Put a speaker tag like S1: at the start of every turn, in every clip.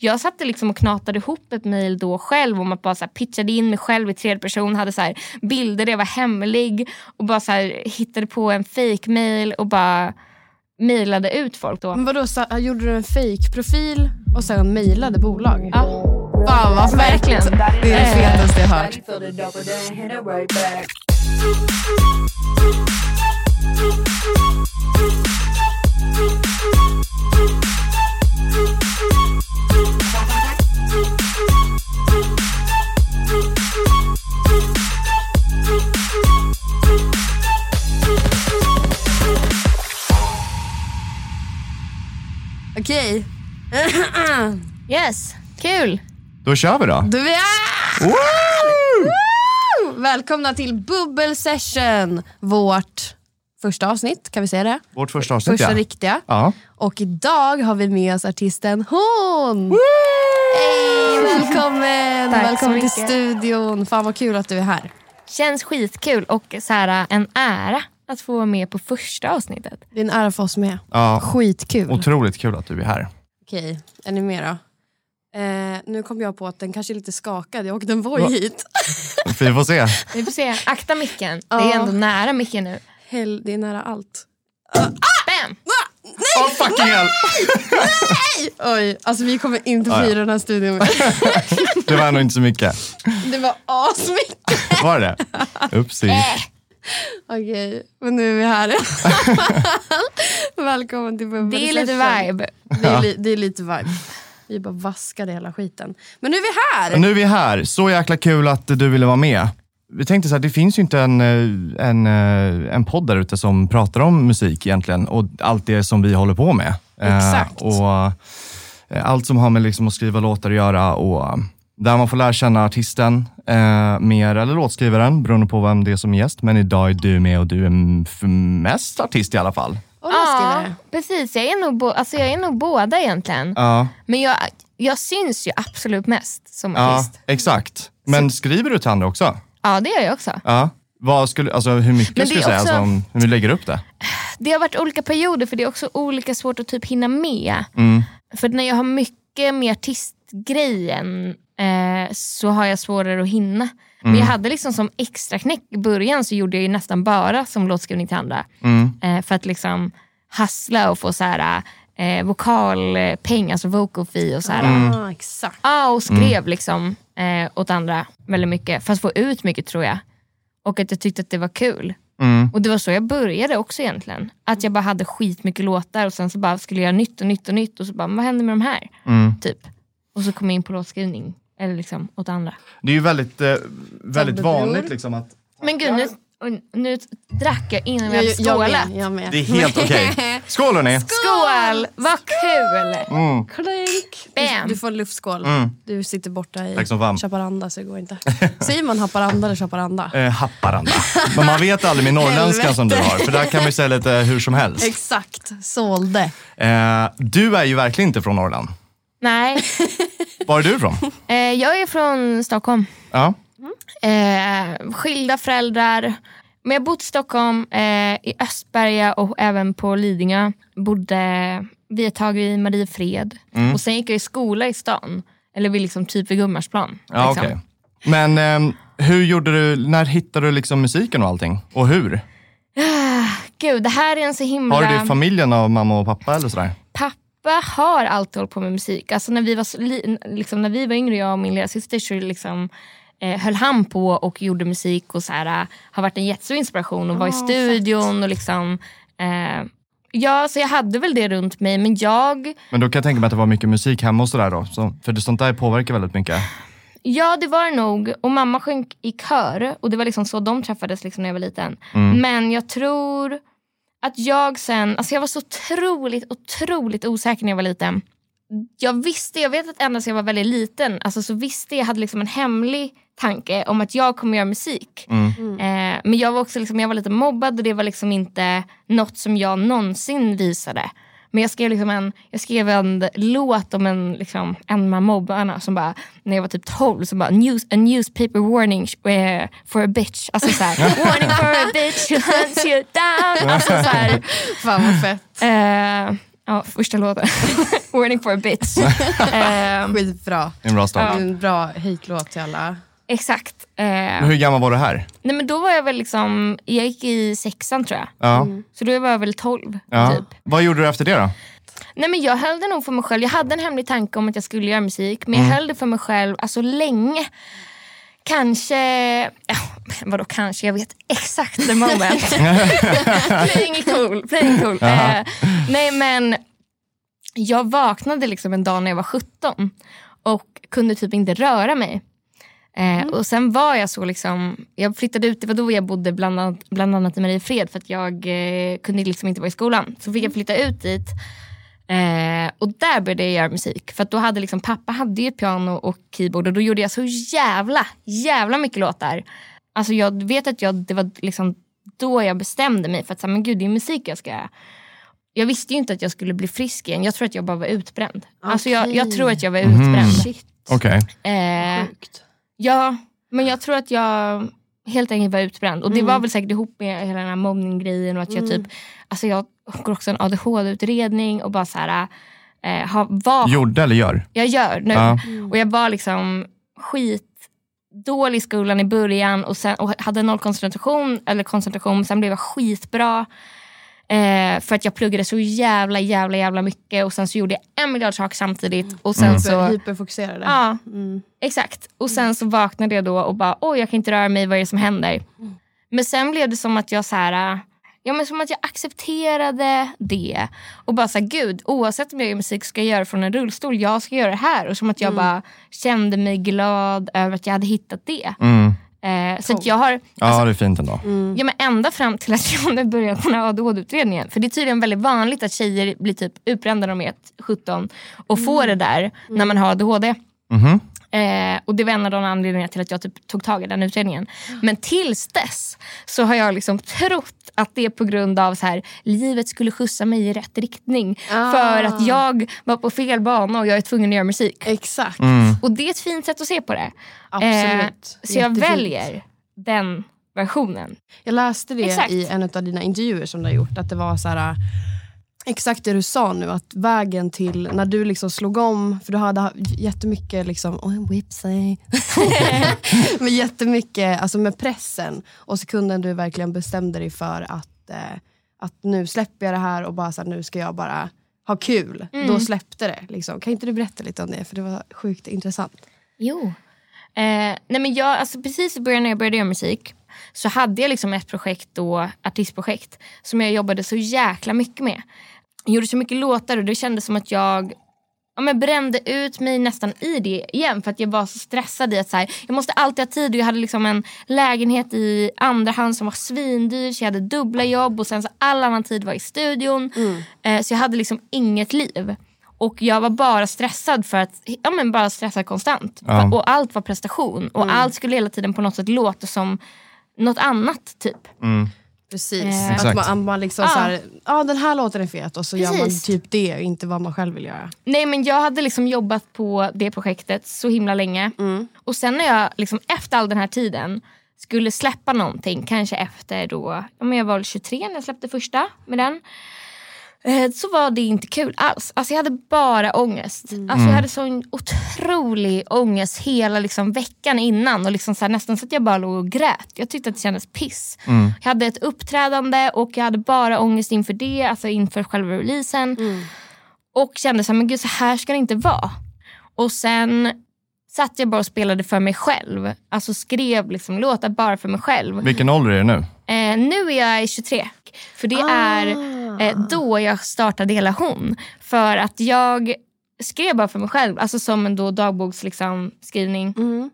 S1: Jag satte liksom och knatade ihop ett mejl då själv och man bara så här pitchade in mig själv i tredje person, hade så här bilder där jag var hemlig och bara så här hittade på en fake mail och bara mejlade ut folk då.
S2: Men vadå, så, gjorde du en fake profil och sen mejlade bolag?
S1: Ja.
S2: Fan vad
S1: Verkligen.
S2: Det är det fetaste jag hört. Okej,
S1: Yes, kul.
S3: Då kör vi då.
S2: då är vi
S3: Woo!
S2: Woo! Välkomna till Bubbel Session. Vårt första avsnitt, kan vi säga det?
S3: Vårt första avsnitt
S2: Första
S3: ja.
S2: riktiga.
S3: ja.
S2: Och idag har vi med oss artisten Hon! Hej, välkommen!
S1: Tack så
S2: välkommen till
S1: mycket.
S2: studion. Fan vad kul att du är här.
S1: Känns skitkul och så här, äh, en ära att få vara med på första avsnittet.
S2: Det är en ära för oss med.
S3: ja.
S2: Skitkul.
S3: Otroligt kul att du är här.
S2: Okej, är ni med då? Eh, nu kom jag på att den kanske är lite skakad. Jag åkte en voj
S3: Va?
S2: hit.
S3: Vi får se.
S1: Vi får se. Akta micken. Det
S2: Ja.
S1: är ändå nära micken nu.
S2: Hell, det är nära allt.
S1: Bam!
S3: Åh fucking hell.
S2: Oj, alltså vi kommer inte fira
S3: Ah, ja.
S2: den här studion.
S3: Det var nog inte så mycket.
S2: Det var asmycket.
S3: Var det Upsi.
S2: Okej, men nu är vi här. Välkommen till Bubbel
S1: Det är lite
S2: Session.
S1: vibe.
S2: Det är, li- det är lite vibe. Vi bara vaskade hela skiten. Men nu är vi här!
S3: Och nu är vi här. Så jäkla kul att du ville vara med. Vi tänkte så här, det finns ju inte en, eh, en, eh, en podd där ute som pratar om musik egentligen och allt det som vi håller på med. Eh,
S2: Exakt.
S3: och eh, allt som har med liksom att skriva låtar att göra och eh, där man får lära känna artisten eh, mer, eller låtskrivaren, beroende på vem det är som är gäst. Men idag är du med och du är m- f- mest artist i alla fall.
S2: Och
S1: Ja,
S2: låtskrivare.
S1: precis. Jag är nog, bo- alltså, jag är nog båda egentligen.
S3: Ja,
S1: Men jag, jag syns ju absolut mest som
S3: ja
S1: artist.
S3: exakt. Men skriver du till andra också?
S1: Ja, det gör jag också.
S3: Ja. Vad skulle, alltså hur
S1: Men det
S3: mycket skulle
S1: är
S3: du säga?
S1: också-
S3: Alltså, om hur vi lägger upp det?
S1: Det har varit olika perioder för det är också olika svårt att typ hinna med.
S3: Mm.
S1: För när jag har mycket med artistgrejen eh, så har jag svårare att hinna. Men jag
S3: Mm.
S1: hade liksom som extra knäck i början så gjorde jag ju nästan bara som låtskrivning till andra.
S3: Mm.
S1: Eh, för att liksom hassla och få så här, eh, vokalpeng, alltså vocal fee och så här.
S3: Mm.
S2: Ah, exakt.
S1: Ja, och skrev liksom eh, åt andra väldigt mycket. Fast få ut mycket tror jag. Och att jag tyckte att det var kul.
S3: Mm.
S1: Och det var så jag började också egentligen. Att jag bara hade skitmycket låtar och sen så bara skulle jag göra nytt och nytt och nytt. Och så bara, "Men vad händer med de här?
S3: Mm.
S1: Typ. Och så kom jag in på låtskrivning. Eller liksom åt andra.
S3: Det är ju väldigt, eh, väldigt
S2: Tabbebror.
S3: vanligt liksom att...
S1: Men gud, nu, och nu drack jag innan vi hade
S2: jag
S1: skålat.
S2: med. Jag med.
S3: Det är helt okej. Skål hörni!
S1: Skål! Vad kul!
S3: Mm.
S2: Klink.
S1: Bam.
S2: Du får luftskål.
S3: Mm.
S2: Du sitter borta i
S3: Tack som fan.
S2: Chaparanda så det går inte. Säger man Haparanda eller Chaparanda?
S3: Eh, Haparanda. Men man vet aldrig med norrländskan som du har, för där kan man ju säga lite hur som helst.
S2: Exakt, sålde.
S3: Eh, du är ju verkligen inte från Norrland.
S1: Nej,
S3: Var är du ifrån?
S1: eh, jag är från Stockholm.
S3: Ja.
S1: Eh, skilda föräldrar. Men jag har bott i Stockholm, eh, i Östberga och även på Lidingö. Bodde vid ett tag i Mariefred.
S3: Mm.
S1: Och sen gick jag i skola i stan. Eller vid liksom typ vid Gullmarsplan.
S3: ja
S1: liksom.
S3: okej. Men ehm, hur gjorde du, när hittade du liksom musiken och allting? Och hur?
S1: Gud, det här är en så himla...
S3: Har du det i familjen av mamma och pappa eller sådär?
S1: Pappa pappa har alltid hållit på med musik. Alltså när vi var, så li- liksom när vi var yngre, jag och min lillasyster, så liksom, eh, höll han på och gjorde musik och så här, eh, har varit en jättestor inspiration och var i studion. Och liksom, eh, ja, så jag hade väl det runt mig, men jag
S3: Men då kan jag tänka mig att det var mycket musik hemma och sådär då. Så, för det, sånt där påverkar väldigt mycket.
S1: Ja det var det nog. Och mamma sjöng i kör. Och det var liksom så de träffades liksom när jag var liten. Men jag tror att jag sen, alltså jag var så otroligt, otroligt osäker när jag var liten. Jag visste, jag vet att ända sedan jag var väldigt liten, alltså så visste jag hade liksom en hemlig tanke om att jag kommer göra musik. Eh, men jag var också liksom, jag var lite mobbad och det var liksom inte något som jag någonsin visade. Men jag skrev, liksom en, jag skrev en låt om en, liksom, en av mobbarna som bara, när jag var typ 12, som bara News, a newspaper warning eh, for a bitch. Alltså såhär, warning for a bitch who hunts you down. Alltså såhär,
S4: Fan vad fett.
S1: eh, ja, första låten. warning for a bitch. Eh,
S4: Skitbra.
S3: Det är en bra
S4: Det
S3: start.
S4: är en bra hate-låt till alla.
S1: exakt. Eh,
S3: Men Hur gammal var du här?
S1: nej men då var jag väl liksom, jag gick i sexan tror jag.
S3: Ja.
S1: Så då var jag väl 12
S3: ja.
S1: typ.
S3: Vad gjorde du efter det då?
S1: Nej men jag höll det nog för mig själv. Jag hade en hemlig tanke om att jag skulle göra musik. Men
S3: Mm.
S1: jag höll det för mig själv alltså länge. Kanske, ja, vadå kanske, jag vet exakt the moment. playing it cool, playing it cool. Eh, nej men, jag vaknade liksom en dag när jag var 17 och kunde typ inte röra mig. Eh, Och sen var jag så liksom, jag flyttade ut, det var då jag bodde bland annat, bland annat i Mariefred för att jag eh, kunde liksom inte vara i skolan. Så fick jag flytta ut dit Eh, och där började jag göra musik. För att då hade liksom, pappa hade ju piano och keyboard och då gjorde jag så jävla, jävla mycket låtar. Alltså jag vet att jag, det var liksom då jag bestämde mig för att så här, men gud, det är musik jag ska göra. Jag visste ju inte att jag skulle bli frisk igen. Jag tror att jag bara var utbränd. Alltså jag, jag tror att jag var utbränd.
S3: Okej.
S1: Eh,
S4: Sjukt.
S1: Ja, men jag tror att jag helt enkelt var utbränd. Och det var väl säkert ihop med hela den här mobbninggrejen och att jag typ, alltså jag går också en ADHD-utredning och bara så här, eh, har, vad
S3: Gjorde eller gör?
S1: jag gör nu.
S3: Ja.
S1: Och jag var liksom skitdålig i skolan i början och, sen, och hade noll koncentration, eller koncentration, men sen blev jag skitbra. Eh, för att jag pluggade så jävla, jävla, jävla mycket och sen så gjorde jag en miljard saker samtidigt. Och sen
S2: Mm.
S4: Så
S1: så...
S4: hyperfokuserade.
S1: Mm. Ja, exakt. Och sen så vaknade jag då och bara, oj jag kan inte röra mig, vad är det som händer? Men sen blev det som att jag så här, äh, ja men som att jag accepterade det. Och bara så här, gud, oavsett om jag gör musik ska jag göra det från en rullstol, jag ska göra det här. Och som att jag bara kände mig glad över att jag hade hittat det. Eh, så att jag har,
S3: Ja, det är fint ändå.
S1: ja men ända fram till att jag nu började på den här ADHD-utredningen. För det är tydligen väldigt vanligt att tjejer blir typ utbrända när de är 17 och får
S4: Mm.
S1: det där när man har ADHD.
S3: Mhm.
S1: Eh, och det var en av de anledningarna till att jag typ tog tag i den utredningen. Men tills dess så har jag liksom trott att det är på grund av så här, livet skulle skjutsa mig i rätt riktning.
S4: Ah.
S1: För att jag var på fel bana och jag är tvungen att göra musik.
S4: Exakt.
S1: Och det är ett fint sätt att se på det. Eh,
S4: Absolut.
S1: så jag
S4: Jättefint.
S1: väljer den versionen.
S4: Jag läste det
S1: Exakt.
S4: i en av dina intervjuer som du har gjort, att det var så här, äh, exakt det du sa nu, att vägen till när du liksom slog om, för du hade ha- jättemycket liksom, oh, whipsay. men jättemycket alltså med pressen och sekunden du verkligen bestämde dig för att, eh, att nu släpper jag det här och bara så här, nu ska jag bara ha kul. Då släppte det. Liksom. Kan inte du berätta lite om det? För det var sjukt intressant.
S1: Jo. Eh, nej men jag, alltså precis i början när jag började göra musik så hade jag liksom ett projekt då, artistprojekt, som jag jobbade så jäkla mycket med. Jag gjorde så mycket låtar och det kändes som att jag ja, men brände ut mig nästan i det igen för att jag var så stressad i att så här, jag måste alltid ha tid och jag hade liksom en lägenhet i andra hand som var svindyr så jag hade dubbla jobb och sen så all annan tid var i studion. Eh, så jag hade liksom inget liv. Och jag var bara stressad för att, ja men bara stressad konstant.
S3: Ja.
S1: Och allt var prestation och allt skulle hela tiden på något sätt låta som något annat typ.
S4: Precis.
S1: Eh,
S3: Exakt.
S4: Att man, att man liksom
S1: Ja.
S4: så här, ja den här låten är fet och så gör man
S1: Ah. Precis.
S4: typ det och inte vad man själv vill göra.
S1: Nej men jag hade liksom jobbat på det projektet så himla länge. Och sen när jag liksom efter all den här tiden skulle släppa någonting, kanske efter då, ja, men jag var väl 23 när jag släppte första med den. Eh, Så var det inte kul alls. Alltså jag hade bara ångest. Alltså jag hade sån otrolig ångest hela liksom veckan innan. Och liksom så här, nästan så att jag bara låg och grät. Jag tyckte att det kändes piss. Jag hade ett uppträdande och jag hade bara ångest inför det. Alltså inför själva releasen. Och kände så här, men gud så här ska det inte vara. Och sen satt jag bara och spelade för mig själv. Alltså skrev liksom låtar bara för mig själv.
S3: Vilken ålder är det nu?
S1: Eh, nu är jag 23. För det är
S2: Ah.
S1: eh,
S3: Ah.
S1: då jag startade hela hon. För att jag skrev bara för mig själv, alltså som en då dagboksskrivning. Liksom, skrivning.
S2: Mm.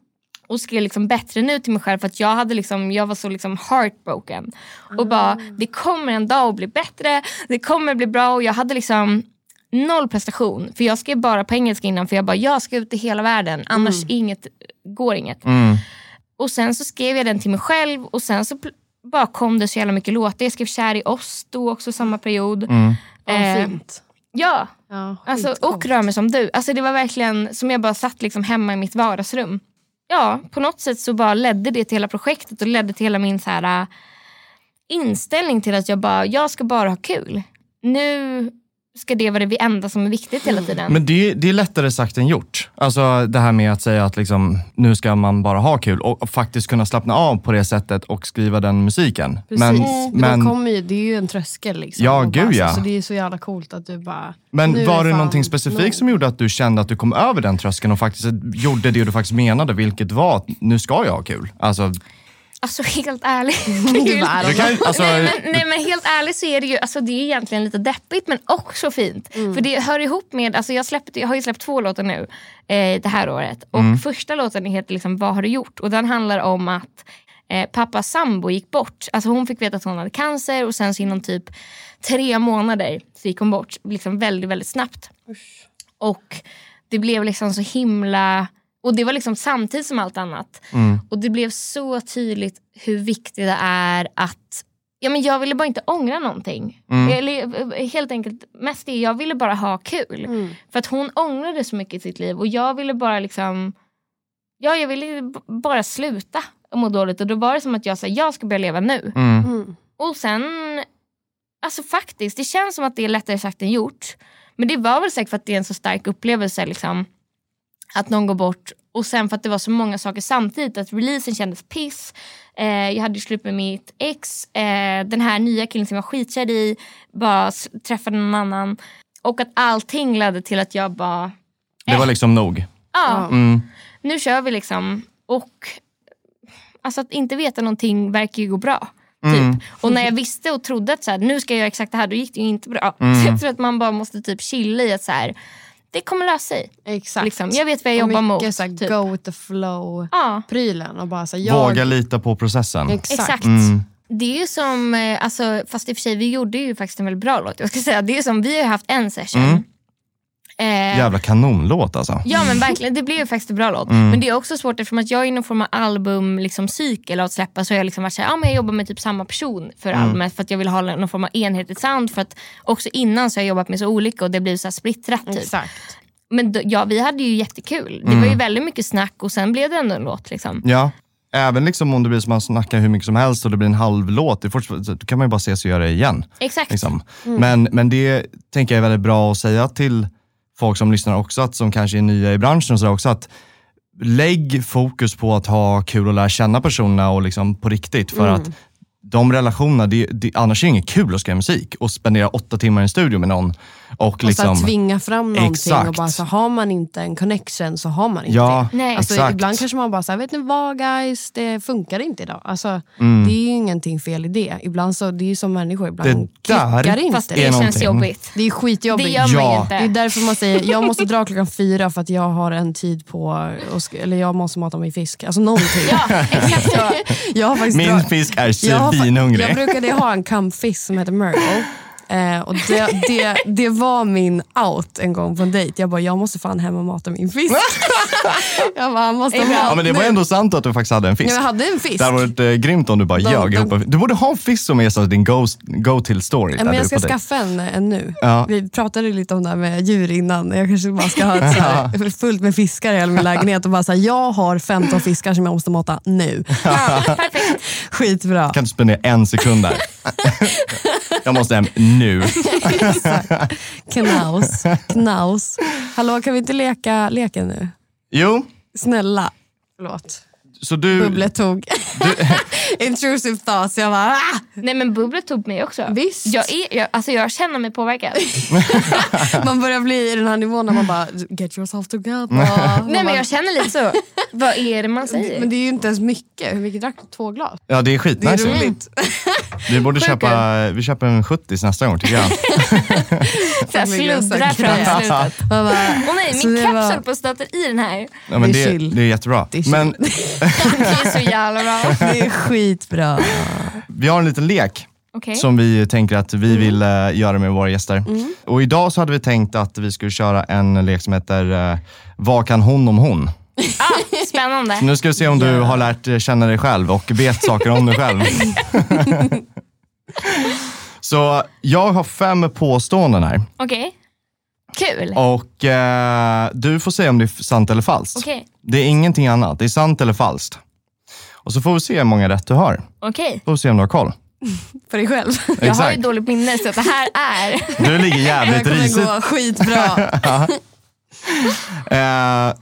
S1: Och skrev liksom bättre nu till mig själv för att jag, hade liksom, jag var så liksom heartbroken. Och bara, det kommer en dag att bli bättre, det kommer bli bra. Och jag hade liksom noll prestation. För jag skrev bara på engelska innan för jag bara, jag ska ut i hela världen annars inget, går inget. Och sen så skrev jag den till mig själv och sen så pl- bara kom det så jävla mycket låtar. Jag skrev Kär i oss då också samma period.
S2: Ja,
S1: Eh,
S2: fint.
S1: Ja,
S2: Ja,
S1: alltså,
S2: skitcoolt.
S1: och Rör mig som du. Alltså, det var verkligen som jag bara satt liksom hemma i mitt vardagsrum. Ja, på något sätt så bara ledde det till hela projektet och ledde till hela min så här, äh, inställning till att jag bara, jag ska bara ha kul. Nu ska det vara det enda som är viktigt hela tiden.
S3: Men det, det är lättare sagt än gjort. Alltså det här med att säga att liksom, nu ska man bara ha kul och, och faktiskt kunna slappna av på det sättet och skriva den musiken.
S2: Precis, Mm. men,
S3: men,
S2: de kommer ju, det är ju en tröskel. Liksom,
S3: Ja,
S2: Och bara,
S3: gud, ja.
S2: Så, så det är så jävla coolt att du bara... nu
S3: men
S2: är
S3: var det
S2: fan
S3: någonting specifikt som gjorde att du kände att du kom över den tröskeln och faktiskt gjorde det du faktiskt menade, vilket var att nu ska jag ha kul. Alltså,
S1: Alltså helt ärligt.
S2: Gud, vad är
S3: du
S2: det?
S3: kan, alltså
S1: nej, men, nej men helt ärligt så är det ju alltså, det är egentligen lite deppigt men också fint. För det hör ihop med, alltså, jag, släppte, jag har ju släppt två låtar nu eh, det här året. Och första låten heter liksom Vad har du gjort? Och den handlar om att eh, pappas sambo gick bort. Alltså hon fick veta att hon hade cancer och sen så inom typ tre månader så gick hon bort. Liksom väldigt, väldigt snabbt. Och det blev liksom så himla... Och det var liksom samtidigt som allt annat.
S3: Mm,
S1: Och det blev så tydligt hur viktigt det är att... Ja, men jag ville bara inte ångra någonting. Eller, eh, helt enkelt, mest det, jag ville bara ha kul.
S2: Mm.
S1: För att hon ångrade så mycket i sitt liv och jag ville bara liksom... Ja, jag ville b- bara sluta och må dåligt. Och då var det som att jag sa, jag ska börja leva nu.
S3: mm.
S2: mm.
S1: Och sen, alltså faktiskt, det känns som att det är lättare sagt än gjort. Men det var väl säkert för att det är en så stark upplevelse liksom, att någon går bort. Och sen för att det var så många saker samtidigt, att releasen kändes piss. Eh, jag hade ju slut med mitt ex, eh, den här nya killen som jag var skitkär i, bara s- träffade någon annan. Och att allting ledde till att jag bara,
S3: det var liksom nog.
S1: ja,
S3: Mm.
S1: nu kör vi liksom. Och alltså att inte veta någonting verkar ju gå bra. Typ. Och när jag visste och trodde att så här, nu ska jag göra exakt det här, då gick det ju inte bra. Så jag tror att man bara måste typ chilla i att så här, det kommer lösa sig.
S2: Exakt.
S1: Liksom, jag vet vad jag
S2: Och
S1: jobbar mot,
S2: Mycket så här,
S1: typ.
S2: go with the flow
S1: Ja.
S2: prylen. Och bara, så här, jag,
S3: Våga lita på processen.
S2: Exakt.
S1: Exakt.
S3: Mm.
S1: Det är ju som, eh, alltså, fast i och för sig vi gjorde ju faktiskt en väldigt bra låt. Jag ska säga, det är som, vi har ju haft en session. Eh,
S3: Jävla kanonlåt alltså.
S1: Ja men verkligen, det blev ju faktiskt en bra låt.
S3: Mm.
S1: Men det är också svårt eftersom att jag är i någon form av album, liksom, cykel av att släppa så har jag liksom varit såhär, ja men jag jobbar med typ samma person för
S3: Mm.
S1: albumet för att jag vill ha någon form av enhetligt sound för att också innan så har jag jobbat med så olika och det blir så här splittrat typ.
S2: Exakt.
S1: Men då, ja vi hade ju jättekul, det var ju väldigt mycket snack och sen blev det ändå en låt liksom.
S3: Mm. Ja. Även liksom om det blir som man snackar hur mycket som helst och det blir en halv låt, det är fortfarande- då kan man ju bara ses och göra det igen.
S1: Exakt.
S3: Liksom. Men, men det tänker jag är väldigt bra att säga till folk som lyssnar också, att, som kanske är nya i branschen och sådär också, att lägg fokus på att ha kul och lära känna personerna och liksom på riktigt. För att de relationerna, det, det, annars är det inget kul att skriva musik och spendera åtta timmar i en studio med någon. Och,
S2: Och så
S3: liksom,
S2: här, tvinga fram någonting. Och
S3: Exakt.
S2: bara, så har man inte en connection så har man inte
S3: Ja,
S2: det.
S1: Nej.
S2: Alltså,
S3: exakt.
S2: ibland kanske man bara, så här, vet ni vad guys, det funkar inte idag. Alltså, Det är ju ingenting fel i det. Ibland så, det är ju som människor, ibland
S3: Mm. Det där
S2: klickar inte.
S1: Fast det,
S3: är
S1: känns
S3: någonting.
S1: jobbigt.
S2: Det är skitjobbigt.
S1: Det gör man ju
S3: Ja.
S1: inte.
S2: Det är därför man säger jag måste dra klockan fyra för att jag har en tid på, och sk- eller jag måste mata mig fisk. Alltså någonting.
S1: ja, exakt så.
S2: Jag har faktiskt
S3: Min
S2: dra-
S3: fisk är
S2: jag, har fa-
S3: svinhungrig.
S2: jag brukade ha en kampfisk som heter Merle. Eh, och det, det, det var min out en gång på en dejt. Jag bara, jag måste fan hem och mata min fisk. jag bara, han måste ha mat
S3: Ja, men det var
S2: nu.
S3: ändå sant att du faktiskt hade en
S2: Ja,
S3: fisk.
S2: men jag hade en fisk.
S3: Det hade varit eh, grymt om du bara
S2: De-
S3: ljög
S2: de-
S3: ihop en fisk. Du borde ha en fisk som är så din go- go-till-story.
S2: Ja,
S3: där
S2: men jag
S3: du
S2: ska
S3: är på dejt.
S2: skaffa en, en nu.
S3: Ja.
S2: Vi pratade lite om det här med djur innan. Jag kanske bara ska ha ett så här, fullt med fiskar i hela min lägenhet och bara säga jag har 15 fiskar som jag måste mata nu. Skitbra.
S3: Kan du spendera en sekund där? jag måste hem nu.
S2: Knaus. Knaus. Hallå, kan vi inte leka leken nu?
S3: Jo,
S2: Snälla. Förlåt.
S3: så du,
S2: Bubble tog intrusive thoughts. Jag bara, ah!
S1: Nej men bubblet tog mig också.
S2: Visst.
S1: Jag, är, jag, alltså, jag känner mig påverkad.
S2: "Ah!" Man börjar bli i den här nivån när man bara, get yourself together. Man
S1: Nej men
S2: bara,
S1: jag känner lite så. Vad är det man säger?
S2: men det är ju inte ens mycket. Hur mycket drack du? Två glas?
S3: ja
S2: Det
S3: det är
S2: är
S3: skitnice. ju.
S2: roligt.
S3: Vi borde köpa, vi köper en 70 nästa gång tycker jag.
S1: så här,
S2: Familjen så
S1: sluddrar
S2: här
S1: fram i
S2: grät.
S1: slutet.
S2: Man bara,
S1: Åh nej,
S2: så
S1: min
S2: det
S1: keps
S2: var-
S1: höll på att stöta i den här.
S3: Ja, men
S2: Det
S3: det,
S2: är
S3: det,
S2: chill.
S3: är jättebra.
S2: Det är chill.
S3: men
S1: Det är så jävla bra.
S2: Det är skitbra.
S3: vi har en liten lek
S1: Okej.
S3: som vi tänker att vi vill eh, göra med våra gäster. Och idag så hade vi tänkt att vi skulle köra en lek som heter eh, Vad kan hon om hon?
S1: Ah, spännande.
S3: Nu ska vi se om du har lärt eh, känna dig själv och vet saker om dig själv. så jag har fem påståenden här
S1: Okej. Kul.
S3: och eh, du får säga om det är sant eller falskt.
S1: Okej.
S3: Det är ingenting annat. Det är sant eller falskt. Och så får vi se hur många rätt du har.
S1: Okej.
S3: Får vi se om du har koll.
S2: För dig själv.
S1: Jag har ju
S3: Exakt.
S1: dåligt minne så att det här är...
S3: Du ligger
S2: Det här
S3: jävligt risigt.
S2: kommer gå skitbra.
S3: Eh,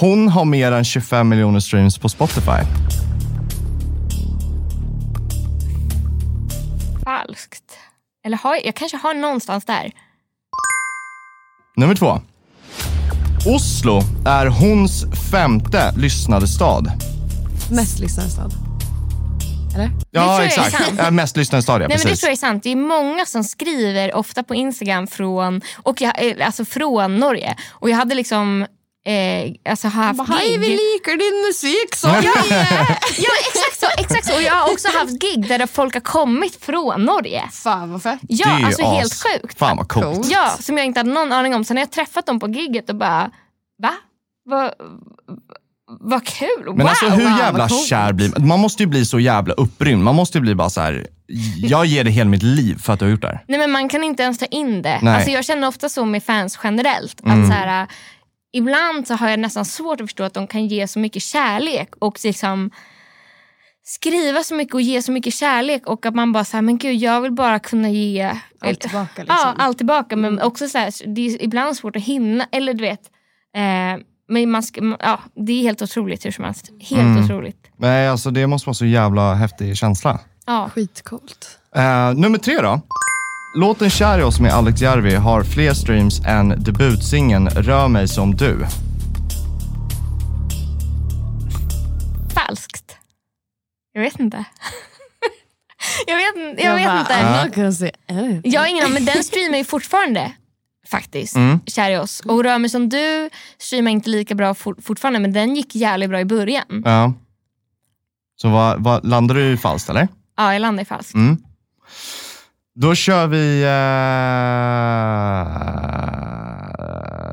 S3: hon har mer än 25 miljoner streams på Spotify.
S1: Falskt. Eller har jag, jag kanske har någonstans där.
S3: Nummer två. Oslo är hons femte lyssnade stad.
S2: Mest liksom lyssnade stad. Eller?
S1: tror
S3: Ja,
S1: jag är
S3: exakt.
S1: sant.
S3: Eh, Mest lyssnade stad, ja.
S1: Nej, men det
S3: Precis.
S1: tror jag är sant. Det är många som skriver ofta på Instagram från, och jag, eh, alltså från Norge. Och jag hade liksom eh, alltså haft
S2: Bara, Hej,
S1: gig.
S2: vi likar din musik så mycket.
S1: Ja exakt så, exakt så. Och jag har också haft gig där folk har kommit från Norge.
S2: Fan vad fett.
S1: Ja,
S3: Det är ju
S1: alltså helt
S3: as-
S1: sjukt.
S3: Fan vad coolt.
S2: Coolt.
S1: Ja, som jag inte hade någon aning om. Sen har jag träffat dem på gigget och bara, va? Vad vad kul,
S3: Men
S1: wow!
S3: alltså hur
S2: wow,
S3: jävla
S2: vad coolt.
S3: kär blir man? Man måste ju bli så jävla upprymd. Man måste ju bli bara så här. jag ger dig hela mitt liv för att du har gjort det här.
S1: Nej men man kan inte ens ta in det.
S3: Nej. Mm.
S1: Alltså, jag känner ofta så med fans generellt. Att så här, äh, ibland så har jag nästan svårt att förstå att de kan ge så mycket kärlek och liksom skriva så mycket och ge så mycket kärlek och att man bara så här, men gud jag vill bara kunna ge
S2: Allt tillbaka liksom. Mm.
S1: Ja, allt tillbaka. Men också så här, det är ibland svårt att hinna. Eller du vet, eh, men man ska, ja, det är helt otroligt hur som helst. Helt
S2: Mm.
S1: otroligt.
S3: Nej, alltså det måste vara så jävla häftig känsla.
S1: Ja.
S2: Skitcoolt.
S3: Eh, nummer tre då. Låten Kär i oss med Alex Järvi har fler streams än debutsingen Rör mig som du.
S1: Falskt. Jag vet inte. jag vet, jag vet
S2: bara,
S1: inte.
S2: I'm not gonna say anything.
S1: Jag har ingen aning, men den streamar ju fortfarande. Faktiskt,
S2: Mm.
S1: kär i oss. Och Rör mig som du streamar inte lika bra for, fortfarande, men den gick jävligt bra i början.
S3: Ja. Så vad, vad, landar du i falskt eller? Mm.
S1: Ja, jag landade i falskt.
S3: Då kör vi eh,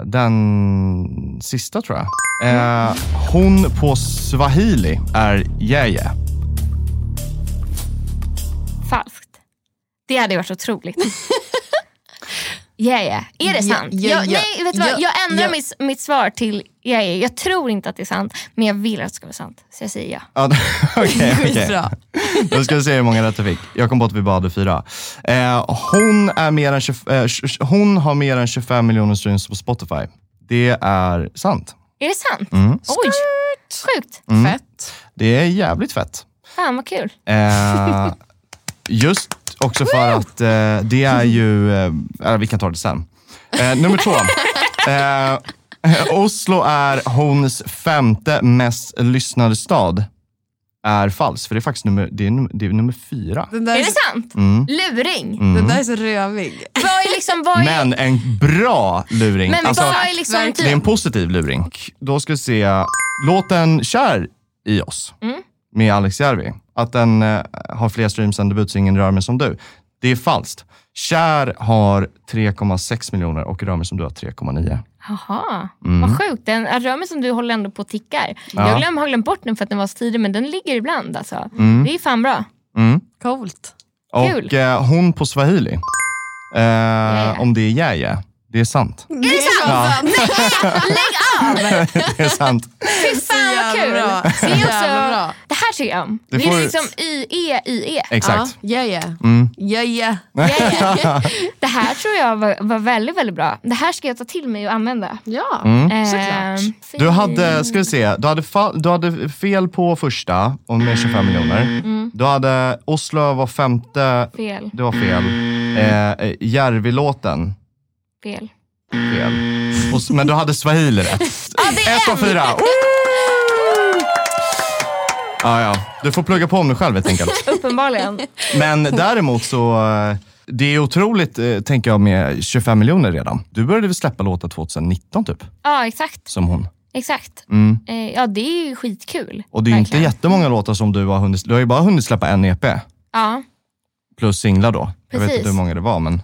S3: den sista tror jag. Eh, hon på swahili är Yeye.
S1: Falskt. Det hade ju varit otroligt. Yeah, yeah. Är det
S2: Ja,
S1: sant?
S2: ja,
S1: jag,
S2: ja.
S1: nej, vet du vad?
S2: Ja,
S1: Jag ändrar
S2: ja.
S1: mitt, mitt svar till yeah, yeah. Jag tror inte att det är sant, men jag vill att det ska vara sant. Så jag säger ja.
S3: Ja, Okej, okej.
S2: Skitbra.
S3: Då ska vi se hur många rätt jag fick. Jag kom på att vi bara hade fyra. Eh, hon, är mer än 20, eh, tj- tj- hon har mer än 25 miljoner streams på Spotify. Det är sant.
S1: Är det sant? Oj, sjukt.
S3: Mm.
S2: Fett.
S3: Det är jävligt fett.
S1: Fan vad kul.
S3: Eh, just också för att eh, det är ju... Eh, eh, vi kan ta det sen. Eh, nummer två. Eh, Oslo är hons femte mest lyssnade stad. Är falskt, för det är faktiskt nummer, det är, num- det är nummer fyra.
S2: Den där
S1: Är
S2: är,
S1: det
S2: så-
S1: sant? Luring.
S3: Mm.
S2: den där är så rövig.
S1: Vad är liksom, vad är, men,
S3: Men en bra luring. alltså,
S1: vad är liksom
S3: det är
S1: typ,
S3: en positiv luring. Då ska vi se låten Kär i oss
S1: Mm.
S3: med Alex Järvi. Att den eh, har fler streams än debutsingen Rör mig som du. Det är falskt. Kär har 3,6 miljoner och Rör mig som du har 3,9.
S1: jaha, vad sjukt. Den römmen som du håller ändå på och tickar. Jag glöm, har glömt bort den för att den var så tidig, men den ligger ibland alltså. Det är fan bra.
S2: Coolt.
S3: Och
S1: Kul.
S3: eh, hon på swahili. Eh, Om det är Jäje. Det är sant.
S2: Är det sant?
S1: Lägg av!
S3: Det är sant.
S1: Fy fan vad kul.
S5: bra.
S1: Det är
S5: Jävla
S1: också,
S5: bra.
S1: det här tycker jag om.
S3: Det
S1: Det,
S3: får-
S1: är liksom I-E-I-E.
S3: Exakt.
S5: Ja, ja.
S3: Mm.
S5: Ja, ja.
S1: Ja, ja. Det här tror jag var, var väldigt, väldigt bra. Det här ska jag ta till mig och använda.
S2: Ja,
S3: Mm.
S1: Ehm,
S2: såklart.
S3: Du hade, ska vi se, du hade, fa- du hade fel på första, om med 25 miljoner. Du hade Oslo var femte,
S1: Fel,
S3: det var fel. Eh, eh, Järvilåten,
S1: fel.
S3: fel. Och, s- men du hade swahili rätt. Ett av fyra. Woo! Ja, ja. Du får plugga på om dig själv helt enkelt.
S1: Uppenbarligen.
S3: Men däremot så, eh, det är otroligt, eh, tänker jag, med 25 miljoner redan. Du började väl släppa låtar 2019 typ,
S1: Ja, exakt.
S3: som hon.
S1: exakt.
S3: Mm.
S1: Eh, ja, det är ju skitkul.
S3: Och det är ju inte
S1: Verkligen.
S3: jättemånga låtar som du har hunnit, du har ju bara hunnit släppa en E EP
S1: Ja,
S3: plus singlar då. Jag vet
S1: Precis.
S3: inte hur många det var men.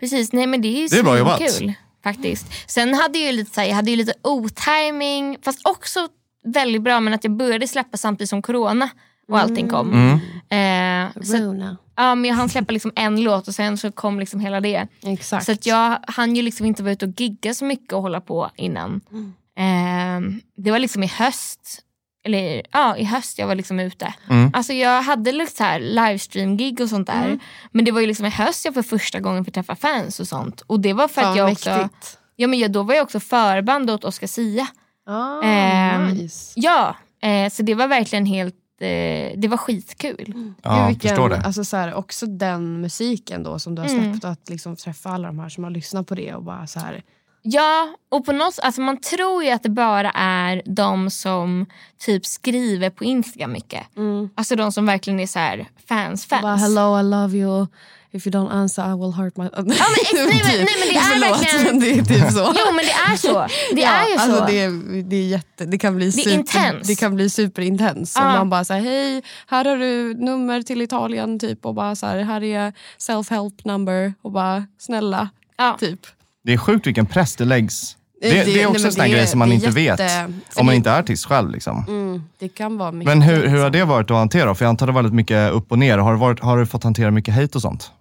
S1: precis. Nej, men det är ju
S3: Det är bra jobbat.
S1: kul faktiskt. Sen hade jag ju lite, så här, jag hade ju lite otiming, fast också väldigt bra, men att jag började släppa samtidigt som corona och allting kom.
S3: Mm.
S2: Mm.
S1: Eh, så, att-
S2: Rona.
S1: ja, men jag hann släppa liksom en låt och sen så kom liksom hela det.
S2: Exakt.
S1: Så att jag hann ju liksom inte vara ute och gigga så mycket och hålla på innan.
S2: Mm.
S1: Ehm, det var liksom i höst, eller ja i höst jag var liksom ute. Alltså jag hade liksom så här livestream-gig och sånt
S2: Mm.
S1: där. Men det var ju liksom i höst jag för första gången fick träffa fans och sånt. Och det var för att
S2: Fan,
S1: jag också,
S2: mäktigt.
S1: ja, men jag, då var jag också förband åt Oscar Sia.
S2: Ah,
S1: Ehm,
S2: nice.
S1: Ja, eh, så det var verkligen helt, eh, det var skitkul.
S3: Ja,
S2: Gud, vilken-
S3: förstår det.
S2: Alltså så här, också den musiken då som du
S1: Mm.
S2: har släppt, och att liksom träffa alla de här som har lyssnat på det och bara så här,
S1: Ja, och på något alltså man tror ju att det bara är de som typ skriver på Instagram mycket. Alltså de som verkligen är så här fans fans.
S2: Mm. bara hello I love you, if you don't answer I will hurt my... Ja, men,
S1: nej, men- nej, men det är
S2: Förlåt,
S1: verkligen-
S2: men det är typ så.
S1: Jo men det är så. Det är ju
S2: alltså
S1: så.
S2: Det, är, det, är jätte, det kan bli,
S1: är
S2: super,
S1: intens.
S2: det kan bli superintens. Om
S1: Ja.
S2: man bara säger hej, här har du nummer till Italien typ och bara så här, här är self-help number och bara snälla.
S1: Ja.
S2: Typ.
S3: Det är sjukt vilken press det läggs. Det, det,
S2: det-
S3: är
S2: nej,
S3: också
S2: men
S3: en sån här
S2: det-
S3: grej som
S2: det
S3: man
S2: är
S3: inte vet.
S2: jätte- Mm. för
S3: Om man
S2: det-
S3: inte är artist själv liksom.
S2: Det kan vara mycket. liksom.
S3: Men hur, hur har det varit att hantera? För jag antar det var väldigt mycket upp och ner. Har du, varit, har du fått hantera mycket hate och sånt?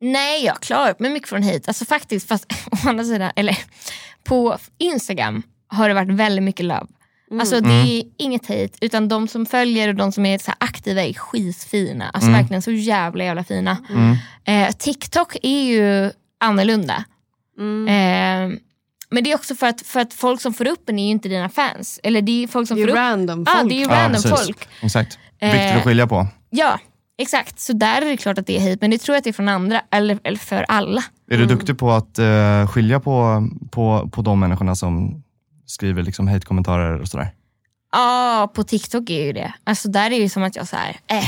S1: Nej jag klarar upp mig mycket från hit. Alltså faktiskt, fast å andra sidan, eller på Instagram har det varit väldigt mycket love.
S2: Mm.
S1: Alltså det är inget hejt utan de som följer och de som är så här aktiva är skitfina. Alltså verkligen så jävla jävla fina. Eh, TikTok är ju annorlunda.
S2: Mm.
S1: Eh, men det är också för att, för att folk som får upp en är ju inte dina fans. Eller det är ju folk som
S2: Ah, Det är
S1: får upp...
S2: random
S1: Ja,
S2: folk.
S1: det är ju random
S3: precis.
S1: folk.
S3: Exakt.
S1: Eh,
S3: Viktigt att skilja på.
S1: Ja, exakt. Så där är det klart att det är hit, men det tror jag att det är från andra, eller, eller för alla.
S3: Är
S2: mm.
S3: du duktig på att eh, skilja på, på, på de människorna som skriver liksom hate-kommentarer och sådär?
S1: Ja, på TikTok är ju det. Alltså där är det ju som att jag så här, eh.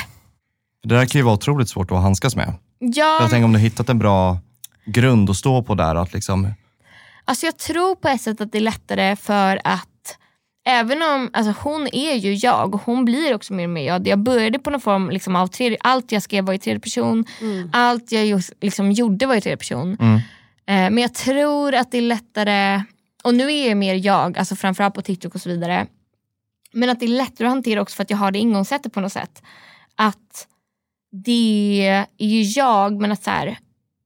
S3: Det där kan ju vara otroligt svårt att handskas med.
S1: Ja,
S3: Jag tänker om du hittat en bra grund att stå på där. Att liksom,
S1: alltså jag tror på ett sätt att det är lättare för att Även om alltså hon är ju jag och hon blir också mer och mer jag. Jag började på någon form liksom, av tredje, allt jag skrev var i tredje person. Allt jag just, liksom, gjorde var i tredje person. Eh, men jag tror att det är lättare, och nu är jag mer jag, alltså framförallt på TikTok och så vidare. Men att det är lättare att hantera också för att jag har det ingångssättet på något sätt. Att det är ju jag men att så här,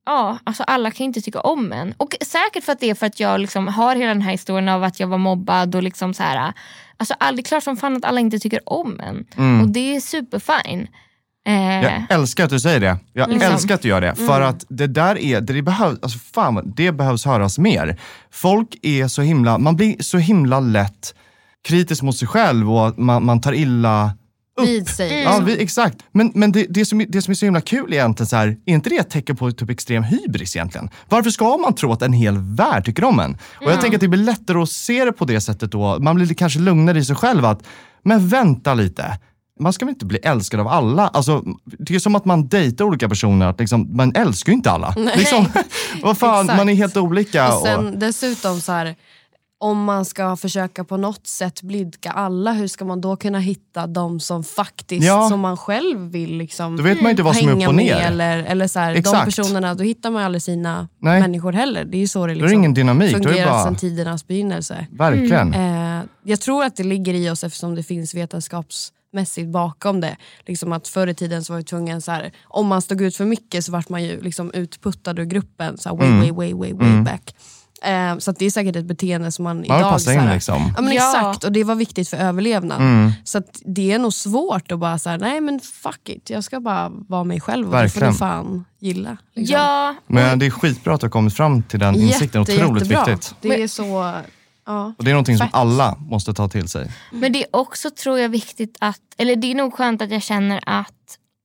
S1: ja, alltså alla kan ju inte tycka om en. Och säkert för att det är för att jag liksom har hela den här historien av att jag var mobbad och liksom så här. Alltså all- det är klart som fan att alla inte tycker om en. Och det är superfine. Eh,
S3: jag älskar att du säger det. Jag
S1: Liksom.
S3: älskar att du gör det. För att det där är, det, behövs, alltså fan, vad- det behövs höras mer. Folk är så himla, man blir så himla lätt kritisk mot sig själv och att man, man tar illa
S2: Vid sig.
S3: Ja, vi, exakt. Men, men det, det, som, det som är så himla kul egentligen, så här, är inte det ett tecken på typ extrem hybris egentligen? Varför ska man tro att en hel värld tycker om en? Och jag tänker att det blir lättare att se det på det sättet då. Man blir kanske lugnare i sig själv att, men vänta lite. Man ska väl inte bli älskad av alla? Alltså, det är som att man dejtar olika personer, att liksom, man älskar ju inte alla. Liksom, vad fan,
S2: Exakt.
S3: man är helt olika.
S2: Och sen dessutom så här, om man ska försöka på något sätt blidka alla, hur ska man då kunna hitta de som faktiskt,
S3: Ja.
S2: som man själv vill liksom
S3: Då vet man inte vad som är
S2: hänga
S3: upp och
S2: med,
S3: ner.
S2: Eller, eller så här, de
S3: Exakt.
S2: personerna, då hittar man ju aldrig sina
S3: Nej.
S2: människor heller. Det är ju så det
S3: det
S2: liksom
S3: ingen dynamik, då är det
S2: fungerat
S3: bara-
S2: sedan tidernas begynnelse.
S3: Verkligen.
S2: Eh, jag tror att det ligger i oss eftersom det finns vetenskapsmässigt bakom det. Liksom att förr i tiden så var ju tvungen, så här, om
S3: Mm.
S2: man stod ut för mycket så vart man ju liksom utputtad ur gruppen. Så här, way, way, way, way, way back.
S4: Eh, så att det är säkert ett beteende som man,
S3: Man vill
S4: idag...
S3: passa
S4: så
S3: in
S4: här-
S3: liksom. Mm.
S4: Ja men
S1: Ja.
S4: exakt, och det var viktigt för överlevnad. Så att det är nog svårt att bara säga nej men fuck it, jag ska bara vara mig själv och
S3: Verkligen.
S4: det får du fan gilla. Liksom.
S1: Ja,
S3: Men det är skitbra att du har kommit fram till den insikten. Otroligt
S4: jättebra.
S3: viktigt.
S4: Det är så... Ja.
S3: Och det är någonting som
S4: Fett.
S3: alla måste ta till sig.
S1: men det är också tror jag viktigt att, eller det är nog skönt att jag känner att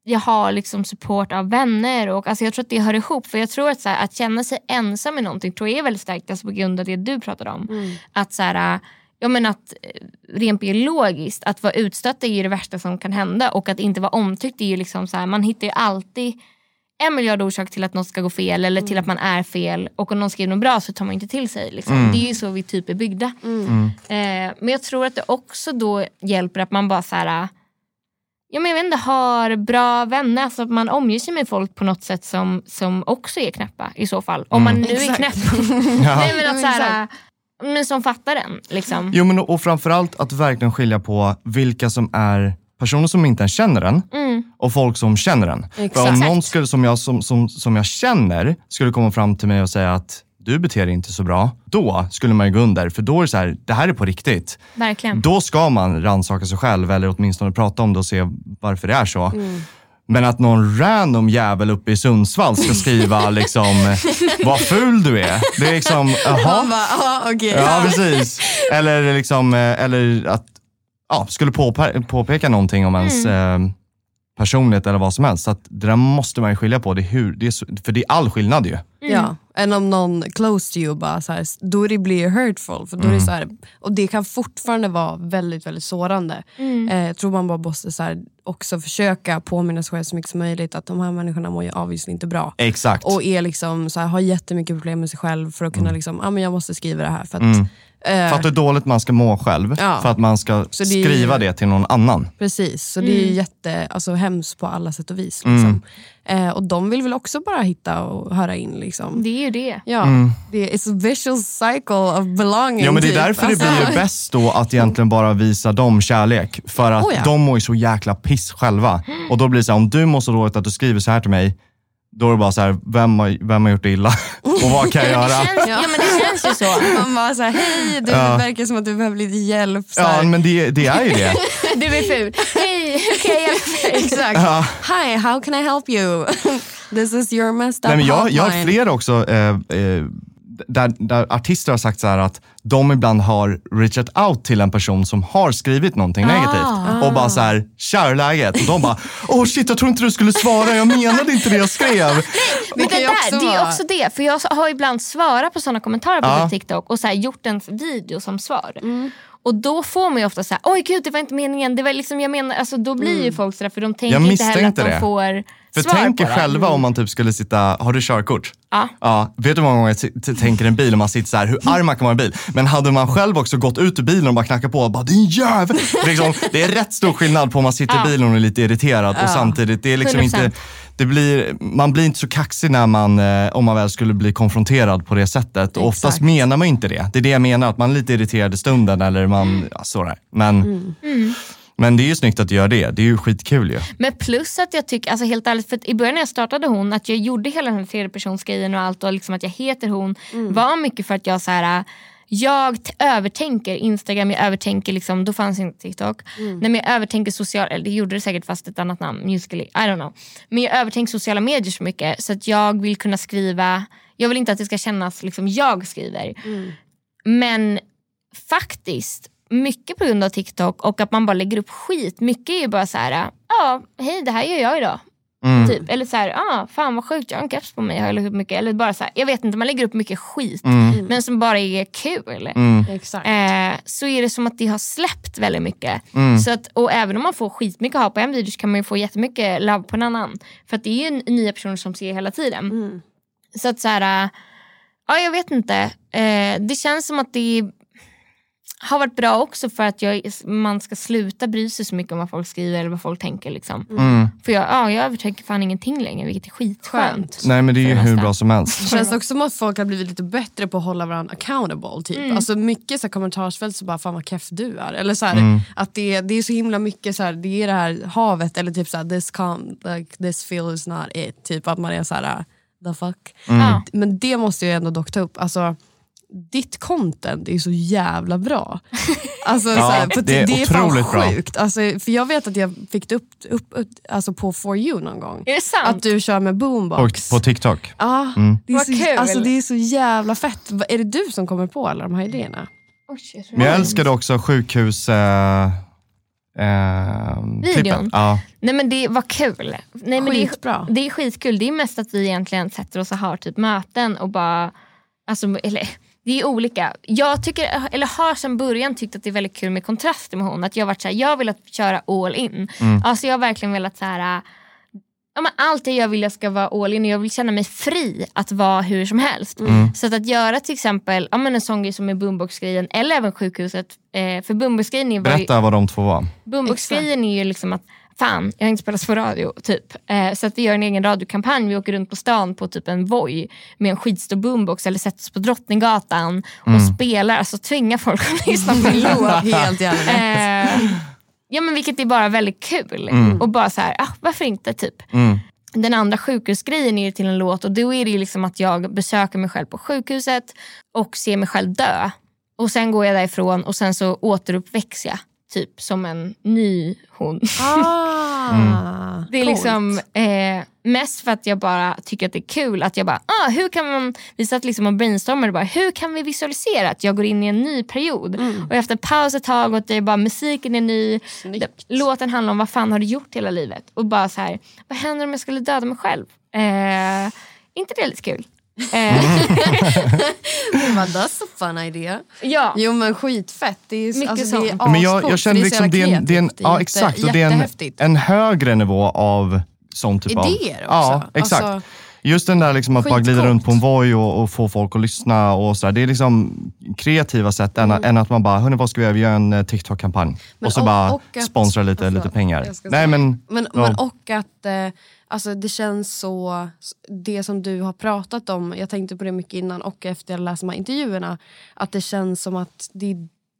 S1: jag har liksom support av vänner och alltså jag tror att det hör ihop för jag tror att så här, att känna sig ensam i någonting tror jag är väldigt starkt alltså på grund av det du pratade om. Att så här, ja men att eh, rent biologiskt, att vara utstött är ju det värsta som kan hända och att inte vara omtyckt är ju liksom så här, man hittar ju alltid en miljard orsak till att något ska gå fel eller till att man är fel och om någon skriver något bra så tar man inte till sig. Liksom. Det är ju så vi typ är byggda. Eh, men jag tror att det också då hjälper att man bara så här, ja, men jag vet inte, har bra vänner. Alltså att man omger sig med folk på något sätt som, som också är knäppa i så fall. Om
S2: Mm.
S1: man nu är
S4: Exakt.
S1: knäpp. Nej, men att så här,
S4: Exakt.
S1: men som fattar den. Liksom.
S3: Jo, men och och framförallt att verkligen skilja på vilka som är personer som inte ens känner en och folk som känner en. För om
S4: Mm. Exakt.
S3: någon skulle, som, jag, som, som, som jag känner skulle komma fram till mig och säga att du beter dig inte så bra, då skulle man ju gå under. För då är det så här, det här är på riktigt.
S4: Mm.
S1: Verkligen.
S3: Då ska man rannsaka sig själv eller åtminstone prata om det och se varför det är så.
S4: Mm.
S3: Men att någon random jävel uppe i Sundsvall ska skriva liksom, vad ful du är. Det är liksom, jaha.
S2: Man bara,
S1: "Ah,
S2: ja okej.
S3: Ja, precis. Eller, liksom, eh, eller att ja, skulle påpe- påpeka någonting om ens
S2: Mm.
S3: eh, personlighet eller vad som helst. Så att det där måste man ju skilja på. Det är hur, det är, så- för det är all skillnad ju.
S2: Ja, än om någon close to you bara så här, då är det blir det hurtful. För då är det så här, och det kan fortfarande vara väldigt väldigt sårande. Eh, jag tror man bara måste så här, också försöka påminna sig själv så mycket som möjligt att de här människorna mår ju obviously inte bra.
S3: Exakt.
S2: Och är liksom, så här, har jättemycket problem med sig själv för att kunna liksom, ah, men jag måste skriva det här. För att, eh,
S3: för att det är dåligt man ska må själv.
S2: Ja.
S3: För att man ska
S2: Så det är ju-
S3: skriva det till någon annan.
S2: Precis, så det är ju jätte, alltså, hemskt på alla sätt och vis. Liksom. Eh, och de vill väl också bara hitta och höra in. Liksom.
S1: Det är ju det.
S2: Ja, det är it's a vicious cycle of belonging.
S3: Mm. Ja, men det är
S2: typ.
S3: därför det
S2: Alltså,
S3: blir ju bäst då att egentligen bara visa dem kärlek. För att
S2: Oh ja. Mm.
S3: de mår ju så jäkla piss själva. Och då blir det så här, om du mår så dåligt att du skriver så här till mig, då är det bara så här, vem har, vem har gjort det illa? Och vad kan jag
S1: Det
S3: göra?
S1: känns, ja. men det känns ju så.
S2: Man bara såhär, hej du det verkar som att du behöver lite hjälp. Så
S3: Ja,
S2: här.
S3: men det, det är ju det.
S1: Du är ful. Hej, hur kan jag hjälpa dig?
S2: Exakt. Hi, how can I help you? This is your messed up
S3: Nej, men jag,
S2: hotline.
S3: jag har flera också eh, eh, där, där artister har sagt så här att de ibland har reachat out till en person som har skrivit någonting negativt
S2: Ah.
S3: och bara så här, tja hur är läget? Och de bara, åh shit jag tror inte du skulle svara, jag menade inte det jag skrev.
S1: Men det,
S2: kan ju
S1: där,
S2: också
S1: det är
S2: vara-
S1: också det, för jag har ibland svarat på sådana kommentarer på
S3: Ja.
S1: typ TikTok och så här gjort en video som svar. Och då får man ju ofta såhär, oj gud det var inte meningen, det var liksom, jag menar, alltså, då blir ju folk sådär för de tänker inte heller att
S3: misstänkte
S1: de
S3: det.
S1: får
S3: För
S1: svar
S3: tänk er
S1: på det.
S3: själva om man typ skulle sitta, har du körkort?
S1: Ja.
S3: ja. Vet du hur många gånger jag t- t- tänker en bil och man sitter så här, hur arg man kan vara i en bil. Men hade man själv också gått ut ur bilen och bara knackat på och bara, din jävel. Liksom, det är rätt stor skillnad på om man sitter i bilen och är lite irriterad och samtidigt, det är liksom
S1: 100%.
S3: inte, det blir, man blir inte så kaxig när man, eh, om man väl skulle bli konfronterad på det sättet. Och oftast menar man ju inte det. Det är det jag menar, att man är lite irriterad i stunden eller
S1: Mm.
S3: man, ja, sådär. Men, men det är ju snyggt att göra det. Det är ju skitkul ju.
S1: Men plus att jag tycker, alltså helt ärligt, för att i början när jag startade hon, att jag gjorde hela den här tredjepersonsgrejen och allt och liksom att jag heter hon var mycket för att jag så här. Jag t- övertänker Instagram, jag övertänker liksom, då fanns inte TikTok. Nej, men jag övertänker social, eller det gjorde det säkert fast ett annat namn, Musical.ly, I don't know. Men jag övertänker sociala medier så mycket så att jag vill kunna skriva, jag vill inte att det ska kännas liksom jag skriver. Men faktiskt, mycket på grund av TikTok och att man bara lägger upp skit. Mycket är ju bara så här, ja, hej det här gör jag idag.
S3: Mm.
S1: Typ. Eller så här, ah, fan vad sjukt, jag har en keps på mig. Har jag lagt upp mycket? Eller bara så här, jag vet inte, man lägger upp mycket skit.
S3: Mm.
S1: Men som bara är kul.
S4: Exakt.
S1: Eh, så är det som att det har släppt väldigt mycket.
S3: Mm.
S1: Så att, och även om man får skitmycket hat på en video så kan man ju få jättemycket love på en annan. För att det är ju n- nya personer som ser hela tiden. Så att så här, eh, ja jag vet inte. Eh, det känns som att det har varit bra också för att jag, man ska sluta bry sig så mycket om vad folk skriver eller vad folk tänker. Liksom.
S3: Mm.
S1: För jag, ja, jag övertänker fan ingenting längre vilket är skitskönt.
S3: Nej men det är ju
S1: För det
S3: hur
S1: mesta.
S3: bra som helst.
S2: Det känns också som att folk har blivit lite bättre på att hålla varandra accountable. Typ.
S1: Mm.
S2: Alltså mycket så här kommentarsfält så bara fan vad keff du är. Eller så här,
S3: Mm.
S2: att det, det är så himla mycket så här, det är det här havet eller typ så här, this, com, like, this feel is not it. Typ att man är så här the fuck.
S1: Ja.
S3: Mm.
S2: Men det måste jag ändå dock ta upp. Alltså, ditt content är så jävla bra. Alltså,
S3: Ja,
S2: så här, på,
S3: det är otroligt bra.
S2: fan sjukt. Alltså, för jag vet att jag fick det upp, upp, upp alltså på For You någon gång.
S1: Är det sant?
S2: Att du kör med
S3: På,
S2: boombox.
S3: på TikTok.
S2: Ja, det, är
S1: Vad
S2: så,
S1: kul.
S2: alltså, det är så jävla fett. Va- Är det du som kommer på alla de här idéerna?
S1: Oj, jag tror
S3: Men jag
S1: det.
S3: älskade också sjukhus... Eh, eh, klippen. Ja.
S1: Nej men det var kul. Nej, men det,
S2: Skitbra.
S1: är, det är skitkul. Det är mest att vi egentligen sätter oss och har typ möten och bara, alltså, eller det är olika. Jag tycker, eller har sedan början tyckt att det är väldigt kul med kontraster med hon. Att jag har varit såhär, jag vill att köra all in. Alltså jag har verkligen velat såhär, ja, men allt det jag vill jag ska vara all in och jag vill känna mig fri att vara hur som helst. Så att, att göra till exempel ja, men en sån grej som är boombox-grejen eller även sjukhuset. Eh, för boombox-grejen är ju-
S3: Berätta vad de två var.
S1: Boombox-grejen är ju liksom att fan, jag har inte spelats på radio. typ. Eh, så att vi gör en egen radiokampanj. Vi åker runt på stan på typ en Voi med en skitstor boombox eller sätter oss på Drottninggatan och spelar. Alltså tvingar folk att lyssna på en låt.
S2: Helt jävla
S1: Eh, ja, men vilket är bara väldigt kul. Och bara så här, ah, varför inte? typ.
S3: Mm.
S1: Den andra sjukhusgrejen är ju till en låt och då är det ju liksom att jag besöker mig själv på sjukhuset och ser mig själv dö. Och sen går jag därifrån och sen så återuppväcks jag. Typ som en ny hon.
S2: Ah,
S1: Det är liksom eh, mest för att jag bara tycker att det är kul att jag bara, ah, hur kan man, vi satt liksom och brainstormade bara, hur kan vi visualisera att jag går in i en ny period? Och efter paus ett tag och det är bara musiken är ny, låten handlar om vad fan har du gjort hela livet? Och bara så här, vad händer om jag skulle döda mig själv? Eh, inte det är lite kul? Eh,
S2: Vad that's a fun idea.
S1: ja.
S2: Jo men skitfett. Det är, ju-
S1: Mycket
S2: alltså, det är
S1: sånt.
S3: Men jag,
S2: ascoolt,
S3: jag
S2: för
S3: känner
S2: så
S3: liksom
S2: jävla
S3: det är en, det är en,
S2: kreativt.
S3: ja,
S2: Jätte-
S3: exakt, och det är en,
S2: jättehäftigt.
S3: en högre nivå av sån typ av...
S2: Idéer också.
S3: Ja, exakt.
S2: Alltså,
S3: Just den där liksom att bara glida
S2: skitcoolt.
S3: runt på en voj och, och få folk att lyssna och så där. Det är liksom kreativa sätt än, än att man bara, hörni vad ska vi göra? Vi gör en eh, TikTok-kampanj.
S2: Mm. Men
S3: Och så
S2: och-
S3: bara
S2: och att-
S3: sponsra lite,
S2: Ja, förlåt.
S3: lite pengar.
S2: Jag ska
S3: Nej
S2: säga-
S3: men,
S2: Men,
S3: ja.
S2: men och att eh, alltså, det känns så, det som du har pratat om, jag tänkte på det mycket innan och efter jag läste de här intervjuerna, att det känns som att det,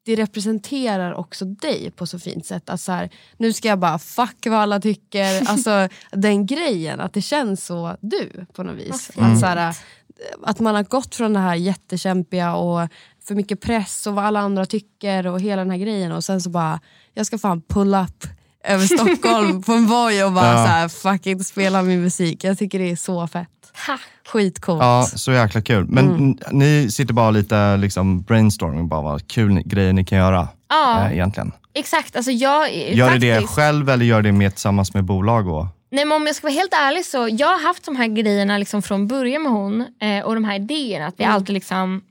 S2: det representerar också dig på så fint sätt. Att så här, nu ska jag bara fuck vad alla tycker, alltså den grejen, att det känns så du på något vis. Att, så här, att man har gått från det här jättekämpiga och för mycket press och vad alla andra tycker och hela den här grejen och sen så bara, jag ska fan pull up över Stockholm på en voj och bara så här, fucking spela min musik. Jag tycker det är så fett. Skitcoolt.
S3: ja, så jäkla kul. Men
S1: Mm.
S3: n- ni sitter bara lite liksom brainstorming, bara vad kul ni- grejer ni kan göra.
S1: Ja.
S3: eh, egentligen.
S1: Exakt, alltså jag
S3: Gör ni
S1: faktiskt,
S3: det själv eller gör ni det med, tillsammans med bolag? Och,
S1: Nej, men om jag ska vara helt ärlig så jag har haft de här grejerna liksom från början med hon eh, och de här idéerna. Att vi alltid liksom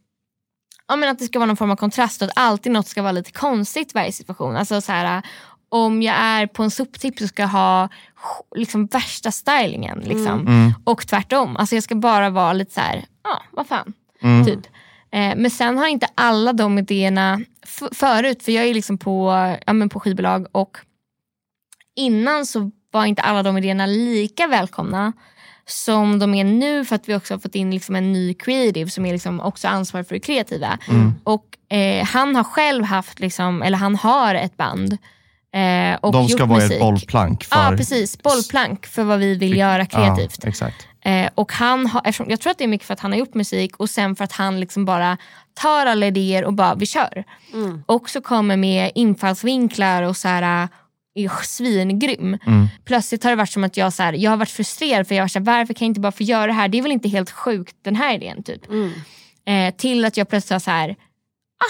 S1: ja, men att det ska vara någon form av kontrast och att alltid något ska vara lite konstigt i varje situation. Alltså så här, om jag är på en soptipp så ska jag ha liksom, värsta stylingen. Liksom. Och tvärtom. Alltså jag ska bara vara lite så här, ja vad fan.
S3: Mm.
S1: Typ. Eh, men sen har inte alla de idéerna f- förut, för jag är liksom på, ja, men på skivbolag och innan så var inte alla de idéerna lika välkomna som de är nu för att vi också har fått in liksom en ny creative som är liksom också ansvarig för det kreativa.
S3: Mm.
S1: Och eh, han har själv haft, liksom, eller han har ett band. Eh, och
S3: de ska
S1: gjort
S3: vara
S1: musik.
S3: ett bollplank. För,
S1: Ja precis, bollplank för vad vi vill göra kreativt.
S3: Ja, exakt.
S1: Eh, och han har, eftersom, jag tror att det är mycket för att han har gjort musik och sen för att han liksom bara tar alla idéer och bara vi kör. Och så kommer med infallsvinklar och så här eh, är svingrym. Plötsligt har det varit som att jag, så här, jag har varit frustrerad för jag har varit så här, varför kan jag inte bara få göra det här? Det är väl inte helt sjukt den här idén typ. Eh, till att jag plötsligt har så här,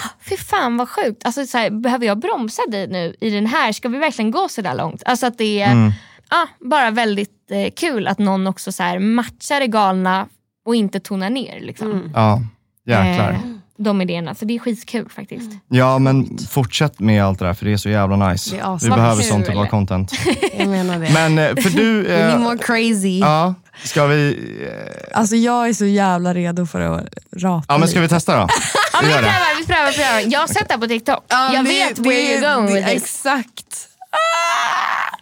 S1: ah, fy fan vad sjukt. Alltså, så här, behöver jag bromsa dig nu i den här? Ska vi verkligen gå så där långt? Alltså att det är ah, bara väldigt eh, kul att någon också så här, matchar det galna och inte tonar ner liksom.
S2: Mm.
S3: Ja, jäklar.
S1: Eh, de idéerna. Så det är skitkul faktiskt.
S2: Mm.
S3: Ja, men fortsätt med allt det där, för det är så jävla nice.
S2: Det är
S3: Vi
S2: asnice.
S3: behöver
S1: Kul.
S3: sånt typ av content.
S2: Jag menar det.
S3: Men eh, för du...
S2: We need
S3: Eh,
S2: more crazy.
S3: ja, ska vi... eh,
S2: Alltså jag är så jävla redo för att rapa
S3: Ja, men
S2: lite.
S3: ska vi testa då?
S1: Ja,
S3: Vi
S1: men vi
S3: gör det.
S1: prövar, vi prövar, vi prövar. Jag har sett det här på TikTok.
S2: Ja,
S1: jag
S2: det-
S1: vet
S2: det-
S1: where you're going
S2: det-
S1: with this.
S2: Exakt. Ah!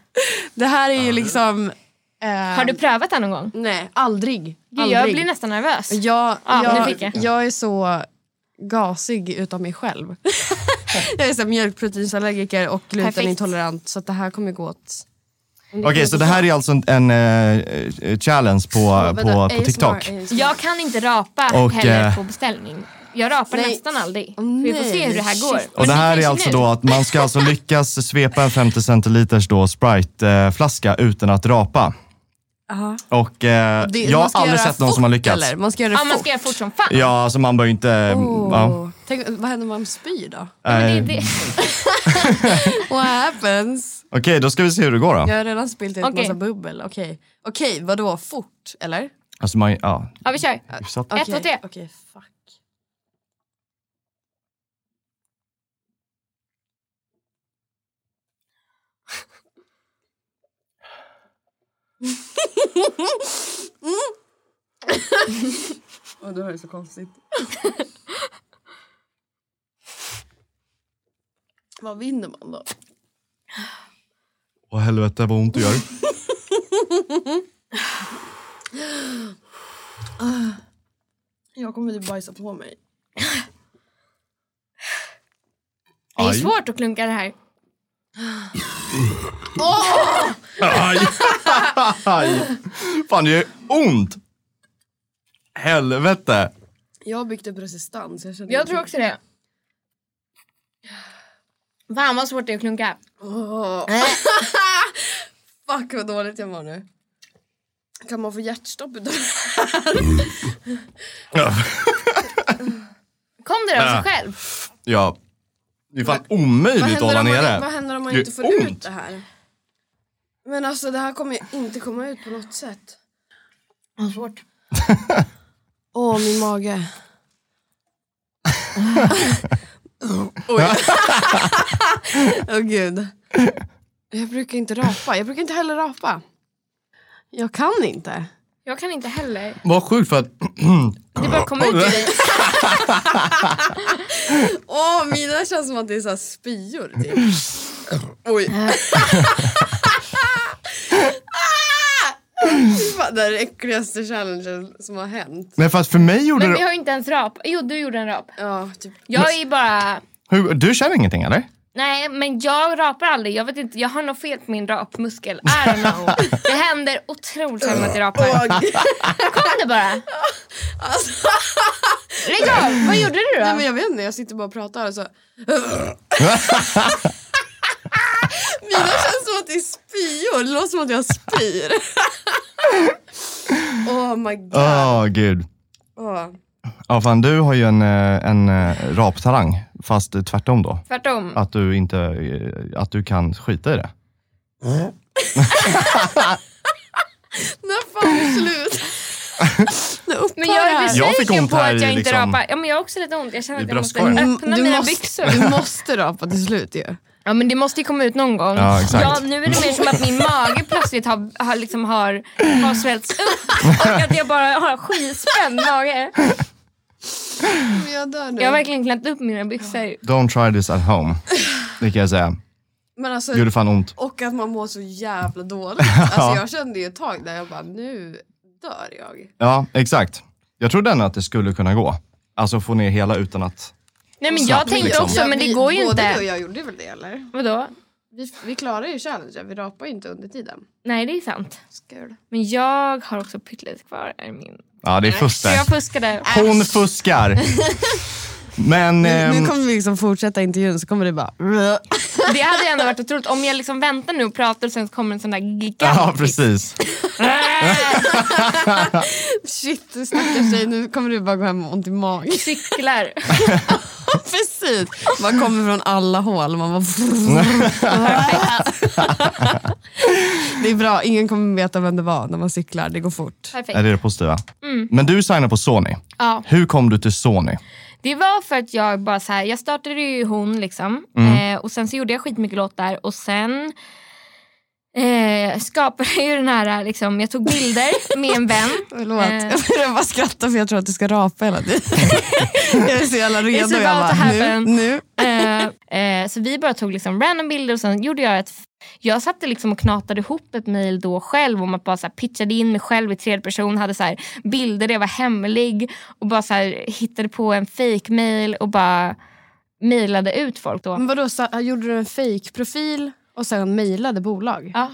S2: Det här är ju liksom... eh,
S1: Har du prövat det någon gång?
S2: Nej, aldrig.
S1: Gud, jag
S2: aldrig.
S1: blir nästan nervös.
S2: Jag,
S1: Ja, nu
S2: jag,
S1: fick jag.
S2: jag är så gasig utav mig själv. jag är så här mjölkproteinsallergiker och glutenintolerant så att det här kommer gå åt
S3: Okej, så det här är alltså en, en eh, challenge på, på, på TikTok.
S1: Jag kan inte rapa
S3: Och,
S1: heller
S3: eh,
S1: på beställning. Jag rapar nästan aldrig. vi får se hur det här går.
S3: Och
S1: Men
S3: det här
S1: kanske
S3: är alltså
S1: nu.
S3: då att man ska alltså lyckas svepa en 50 centiliters då Sprite-flaska utan att rapa. Och eh,
S2: Det-
S3: jag har
S2: man ska
S3: aldrig
S2: göra
S3: sett någon
S2: fort,
S3: som har lyckats.
S2: Eller? Man ska göra det
S1: Ja, man
S2: fort.
S1: ska göra fort som fan.
S3: Ja, alltså man bör ju inte... Ja,
S2: Åh. Tänk, vad händer om man spyr då?
S1: Men det,
S3: eh,
S1: det,
S2: What happens?
S3: Okej, då ska vi se hur det går då.
S2: Jag har redan spillt ut
S1: Okej.
S2: massa bubbel. Okej, Okej, vadå fort? Eller?
S3: Alltså man, ja,
S1: ja, vi kör.
S3: hyfsat.
S1: Ett, två, tre.
S2: Okej, fuck. Och det var så konstigt. Vad vinner man då?
S3: Åh helvete vad ont det gör.
S2: Jag kommer typ bajsa på mig.
S1: Det är
S3: Aj.
S1: svårt att klunka det här.
S3: Aj! Aj. Fan, det gör ont! Helvete!
S2: Jag har byggt upp resistans. Jag, känner typ-
S1: Jag tror också det. Fan vad svårt det är att klunka.
S2: Fuck vad dåligt jag mår nu. Kan man få hjärtstopp utav
S1: Kom det av sig själv?
S3: Ja. Det är fan omöjligt att
S2: Vad
S3: hålla
S2: händer om man-
S3: nere.
S2: Vad händer om man
S3: Det
S2: inte
S3: är
S2: får
S3: ont.
S2: ut det här? Men alltså det här kommer ju inte komma ut på något sätt.
S1: Vad svårt.
S2: Åh, min mage. Oj. Åh gud. Jag brukar inte rapa. Jag brukar inte heller rapa. Jag kan inte.
S1: Jag kan inte heller.
S3: Vad sjukt för att...
S1: Det bara kom ut i dig.
S2: Åh, mina känns som att det är så här spyor typ. Oj. Ah! Fan, det här är den äckligaste challengen som har hänt.
S3: Men för att för mig gjorde
S1: Men vi
S3: det...
S1: har ju inte ens rap. Jo, du gjorde en rap.
S2: Ja, typ.
S1: Jag är bara...
S3: Hur, du känner ingenting eller?
S1: Nej, men jag rapar aldrig. Jag vet inte, jag har något fel på min rapmuskel. I don't know. Det händer otroligt sällan att jag rapar. Kom det bara. Lägg av! Vad gjorde du
S2: Nej,
S1: då?
S2: Alltså, men jag vet inte, jag sitter bara och pratar och så... Mina känns som att det är spyor, det låter som att jag spyr. oh my god.
S3: Åh Ah, gud.
S2: Åh.
S3: Ja fan du har ju en, eh, en eh, raptalang. Fast eh, tvärtom då.
S1: Tvärtom.
S3: Att du inte... eh, Att du kan skita i det.
S2: När fan är det slut? När upphör
S1: Men jag
S2: det
S1: är
S2: här?
S3: Jag fick
S1: besviken
S3: ont
S1: på
S3: här
S1: att
S3: i
S1: jag inte
S3: liksom-
S1: rapar. Ja, men jag har också lite ont. Jag känner
S3: I
S1: att jag måste
S3: bröstkorgen.
S1: öppna
S2: Mm. Du
S1: mina
S2: måste,
S1: byxor.
S2: du måste rapa till slut ju.
S1: Ja, men det måste ju komma ut någon gång.
S3: Ja, exakt.
S1: nu är det mer som att min mage plötsligt har, har, liksom har, har svällts upp och att jag bara har skitspänd mage.
S2: Men Jag dör nu.
S1: Jag har verkligen klämt upp mina byxor.
S3: Don't try this at home. Det kan jag säga.
S2: Men alltså,
S3: Det gjorde fan ont.
S2: och att man mår så jävla dåligt. Alltså, jag kände ju ett tag där jag bara, nu dör jag.
S3: Ja, exakt. Jag trodde ändå att det skulle kunna gå. Alltså få ner hela utan att...
S1: Nej, men jag tänkte
S3: liksom.
S1: också, men det
S2: vi-
S1: går ju
S2: både Både du och
S1: inte.
S2: jag gjorde väl det eller?
S1: Vadå?
S2: Vi, vi klarar ju challengen, vi rapar ju inte under tiden.
S1: Nej, det är sant.
S2: Skål.
S1: Men jag har också pyttelite kvar i min.
S3: Ja, det är fusk
S1: Så
S3: där.
S1: jag fuskade.
S3: Hon fuskar. Men...
S2: Nu,
S3: ehm,
S2: nu kommer vi liksom fortsätta intervjun så kommer det bara...
S1: Det hade ändå varit otroligt om jag liksom väntar nu och pratar och sen kommer en sån där
S3: Ja,
S1: gigantisk...
S3: precis.
S2: Shit, stackars tjej, nu kommer du bara gå hem med ont i magen.
S1: Cyklar.
S2: Precis, man kommer från alla hål. Man bara... det är bra, ingen kommer veta vem det var när man cyklar, det går fort.
S1: Perfekt.
S3: Ja, Det är det positiva.
S2: Mm.
S3: Men du signade på Sony.
S1: Ja.
S3: Hur kom du till Sony?
S1: Det var för att jag bara så här, jag startade ju hon liksom eh, och sen så gjorde jag skitmycket låtar och sen eh, skapade jag ju den här, liksom, jag tog bilder med en vän.
S2: Förlåt,
S1: Eh.
S2: jag börjar bara skratta för jag tror att du ska rapa hela tiden. jag är så jävla redo.
S1: about
S2: jag
S1: to
S2: bara, nu,
S1: happen.
S2: nu.
S1: Eh, eh, så vi bara tog liksom random bilder och sen gjorde jag ett jag satte liksom och knatade ihop ett mejl då själv om att bara så här pitchade in mig själv i tredje person, hade så här bilder där jag var hemlig och bara så här hittade på en fake mail och bara mejlade ut folk då.
S2: Mm. Men vadå, så, gjorde du en fake profil och sen mejlade bolag?
S1: Ja.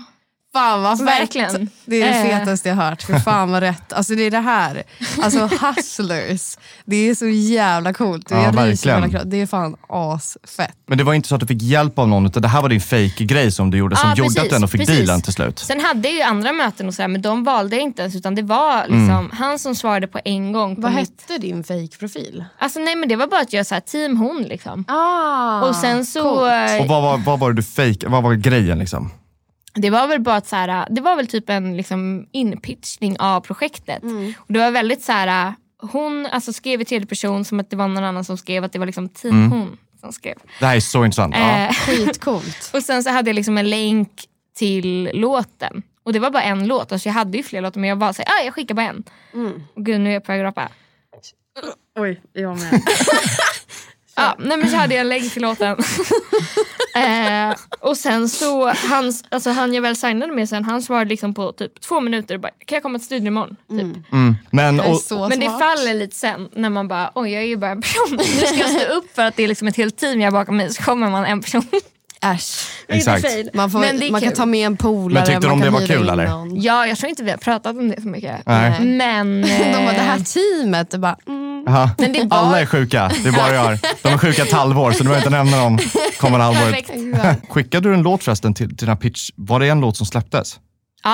S2: Fan vad fett.
S1: Verkligen.
S2: Det är det
S1: Eh.
S2: fetaste jag hört. För fan vad rätt. Alltså det är det här. Alltså hustlers. Det är så jävla coolt.
S3: Ja,
S2: Jag ryser i hela
S3: verkligen.
S2: kroppen. Det är fan asfett.
S3: Men det var inte så att du fick hjälp av någon, utan det här var din fake grej som du gjorde som
S1: Ja,
S3: gjorde
S1: Ah, precis,
S3: att du ändå fick
S1: precis.
S3: dealen till slut.
S1: Sen hade jag ju andra möten och så här, men de valde jag inte ens utan det var
S3: Mm.
S1: liksom han som svarade på en gång. På
S4: Vad
S1: mitt,
S4: hette din fake-profil?
S1: alltså, nej men det var bara att jag så här, team hon liksom.
S4: Ah,
S1: och sen så, eh,
S3: Och vad var, vad var det du fake, vad var grejen liksom?
S1: det var väl bara att så här, det var väl typ en liksom, inpitchning av projektet.
S4: Mm.
S1: Och det var väldigt så här, hon alltså, skrev i tredje person som att det var någon annan som skrev, att det var liksom team
S3: Mm.
S1: hon som skrev.
S3: Det här är så intressant. Ja.
S1: Eh,
S4: skitcoolt.
S1: Och sen så hade jag liksom en länk till låten. Och det var bara en låt, alltså jag hade ju fler låtar men jag bara såhär, ah, jag skickar bara en.
S2: Mm.
S1: Och gud nu är jag på väg att rapa.
S4: Oj, jag med.
S1: Ja, nej men så hade jag en länk till låten. eh, och sen så, han, alltså han jag väl signade med sen, han svarade liksom på typ två minuter och bara, kan jag komma till studion imorgon? Typ.
S3: Mm. Men,
S2: Jag är
S3: och,
S2: så
S1: Men det
S2: smart.
S1: faller lite sen när man bara, oj jag är ju bara en person. Nu ska jag stå upp för att det är liksom ett helt team jag har bakom mig så kommer man en person.
S2: Äsch.
S1: Det är
S3: Exakt.
S1: fail.
S2: Man, får,
S1: Men det är
S2: man kan
S1: kul.
S2: ta med en polare.
S3: Men tyckte
S2: man
S3: de
S2: kan
S3: det var
S2: hyra
S3: kul,
S2: in
S3: eller?
S2: någon.
S1: Ja, jag tror inte vi har pratat om det så mycket.
S3: Nej.
S1: Men...
S2: De bara, det här
S1: eh,
S2: teamet. Det bara, mm.
S3: aha.
S1: Men det var-
S3: Alla är sjuka, det är bara jag. De är sjuka ett halvår, så du behöver inte nämna dem kommande halvåret.
S1: Perfekt.
S3: Skickade du en låt förresten till, till den här pitch? Var det en låt som släpptes?
S1: Ja,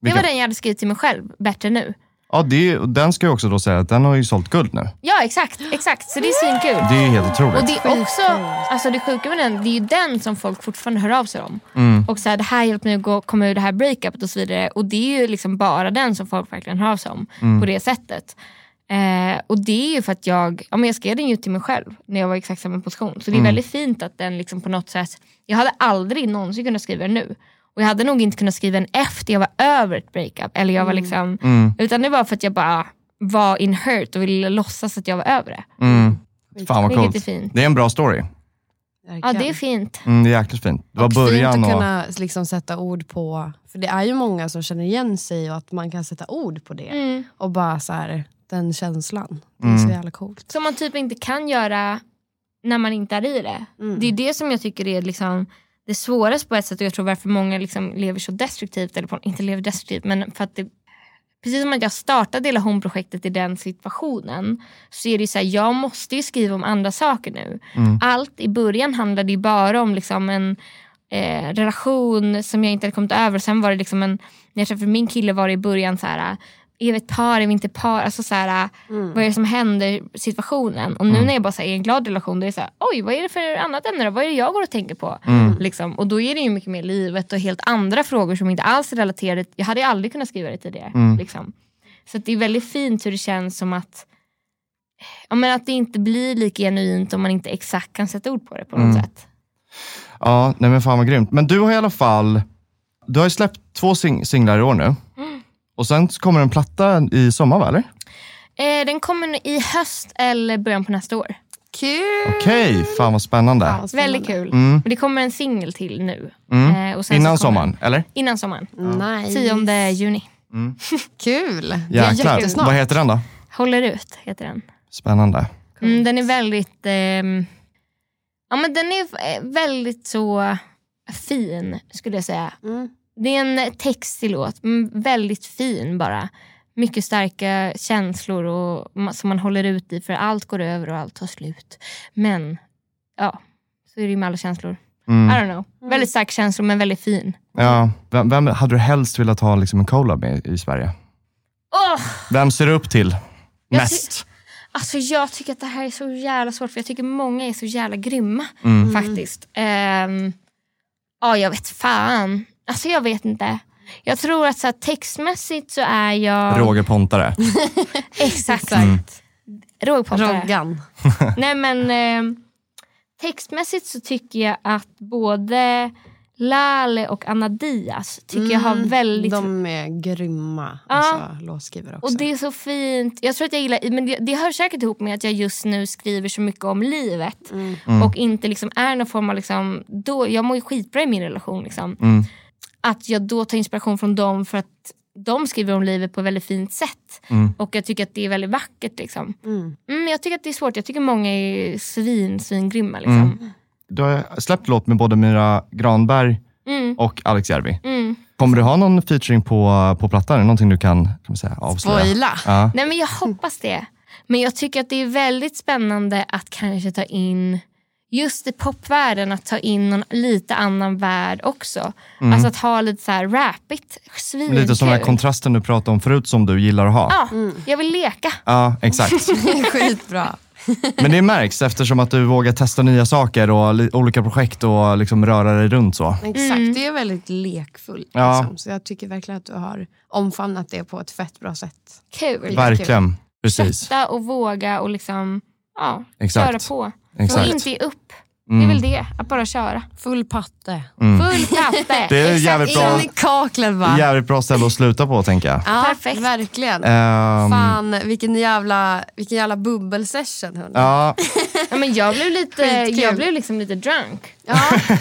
S1: det
S3: Vilken?
S1: var den jag hade skrivit till mig själv, Bättre nu.
S3: Ja, det, är- och den ska jag också då säga att den har ju sålt guld nu.
S1: Ja, exakt. exakt. Så det är svinkul.
S3: Det är ju helt otroligt.
S1: Och det är också, alltså det sjuka med den, det är ju den som folk fortfarande hör av sig om. Och så här, det här hjälpte mig att gå, komma ur det här breakupet och så vidare. Och det är ju liksom bara den som folk verkligen hör av sig om på det sättet. Eh, och det är ju för att jag, ja, men jag skrev den ju till mig själv när jag var i exakt samma position. Så det är väldigt fint att den liksom på något sätt, jag hade aldrig någonsin kunnat skriva den nu. Och jag hade nog inte kunnat skriva den efter jag var över ett breakup. Eller jag var liksom, Utan det var för att jag bara var in hurt och ville låtsas att jag var över det.
S3: Mm. Fan vad
S1: Vilket är
S3: coolt.
S1: fint.
S3: Det är en bra story.
S1: Ja det är fint.
S3: Mm, det är jäkligt fint. Det var
S2: och
S3: början
S2: fint att
S3: och...
S2: kunna liksom sätta ord på, för det är ju många som känner igen sig och att man kan sätta ord på det.
S1: Mm.
S2: Och bara så här, den känslan. Det är
S3: Mm.
S2: så jävla coolt.
S1: Som man typ inte kan göra när man inte är i det. Det är det som jag tycker är liksom det svåraste på ett sätt och jag tror varför många liksom lever så destruktivt, eller på, inte lever destruktivt men för att det Precis som att jag startade hela hon-projektet i den situationen så är det ju så här, jag måste ju skriva om andra saker nu. Allt i början handlade ju bara om liksom en eh, relation som jag inte hade kommit över. Sen var det liksom en, när jag träffade min kille var det i början så här, är vi ett par, är vi inte ett par? Alltså så här, vad är det som händer situationen? Och nu när jag bara så här, är i en glad relation, då är det så här, oj vad är det för annat ämne då? Vad är det jag går och tänker på? Liksom. Och då är det ju mycket mer livet och helt andra frågor som inte alls är relaterade. Jag hade ju aldrig kunnat skriva det tidigare. Liksom. Så att det är väldigt fint hur det känns som att Ja, men att det inte blir lika genuint om man inte exakt kan sätta ord på det på något sätt.
S3: Ja, nej men fan vad grymt. Men du har i alla fall, du har ju släppt två sing- singlar i år nu. Och sen så kommer en platta i sommar va, eller?
S1: Eh, den kommer nu i höst eller början på nästa år.
S2: Kul!
S3: Okej, fan vad spännande.
S1: Väldigt kul. Och det kommer en singel till nu. Eh, och sen så
S3: Mm. Innan
S1: kommer-
S3: sommaren, eller?
S1: Innan sommaren.
S2: Nice.
S1: 10 juni.
S2: Kul! Det är
S3: Jäklar.
S2: jättesnart.
S3: Vad heter den då?
S1: Håller ut heter den.
S3: Spännande.
S1: Mm, den är väldigt... ehm, ja, men den är eh, väldigt så fin skulle jag säga. Det är en textig låt, mm, väldigt fin bara. Mycket starka känslor och, ma- som man håller ut i för allt går över och allt tar slut. Men ja, så är det ju med alla känslor. I don't know. Väldigt starka känslor men väldigt fin.
S3: Mm, Ja, vem, vem hade du helst velat ha liksom en collab med i Sverige?
S1: Åh!
S3: Vem ser du upp till
S1: Jag
S3: mest?
S1: Alltså jag tycker att det här är så jävla svårt för jag tycker många är så jävla grymma faktiskt. Ehm, ja jag vet fan. Alltså jag vet inte. Jag tror att så här, textmässigt så är jag...
S3: Roger Pontare.
S1: Exakt. Rågpottare.
S2: Roggan.
S1: Nej men ehm, textmässigt så tycker jag att både Lale och Anna Diaz tycker jag har väldigt
S2: Mm, De är grymma,
S1: Ja.
S2: alltså, låtskrivare också.
S1: Och det är så fint. Jag tror att jag gillar, men det, det hör säkert ihop med att jag just nu skriver så mycket om livet. Och inte liksom är någon form av, liksom, då, jag mår ju skitbra i min relation. Liksom. Att jag då tar inspiration från dem för att de skriver om livet på ett väldigt fint sätt. Och jag tycker att det är väldigt vackert. Liksom. Mm, jag tycker att det är svårt. Jag tycker många är svin, svingrymma. Liksom.
S3: Du har släppt låt med både Myra Granberg och Alex Järvi.
S1: Mm.
S3: Kommer du ha någon featuring på, på plattan? Är det någonting du kan, kan man säga, avslöja?
S2: Spoila.
S3: Ja.
S1: Nej men jag hoppas det. Men jag tycker att det är väldigt spännande att kanske ta in just i popvärlden att ta in någon lite annan värld också. Alltså att ha lite så här rappigt. Svinkul.
S3: Mm. Lite som den här kontrasten du pratade om förut som du gillar att ha.
S1: Ja,
S2: Mm.
S1: jag vill leka.
S3: Ja, exakt.
S2: Skitbra.
S3: Men det märks eftersom att du vågar testa nya saker och li- olika projekt och liksom röra dig runt så.
S2: Exakt,
S1: Mm.
S2: det är väldigt lekfullt.
S3: Ja.
S2: Liksom. Så jag tycker verkligen att du har omfamnat det på ett fett bra sätt.
S1: Kul.
S3: Verkligen. Precis.
S1: Sätta och våga och liksom ja,
S3: Exakt.
S1: köra på.
S3: Exakt. Mm.
S1: Och inte ge upp. Det är väl det, att bara köra.
S2: Full patte.
S1: Full katte.
S3: Det är ett jävligt bra,
S2: In i kaklet va?
S3: jävligt bra ställe att sluta på tänker jag.
S2: Ja,
S1: Perfekt.
S2: Verkligen.
S3: Ehm,
S2: Fan, vilken jävla, vilken jävla bubbelsession. hörni.
S3: ja,
S1: Ja, men jag blev, lite,
S2: Skitkul.
S1: jag blev liksom lite drunk.
S2: Ja,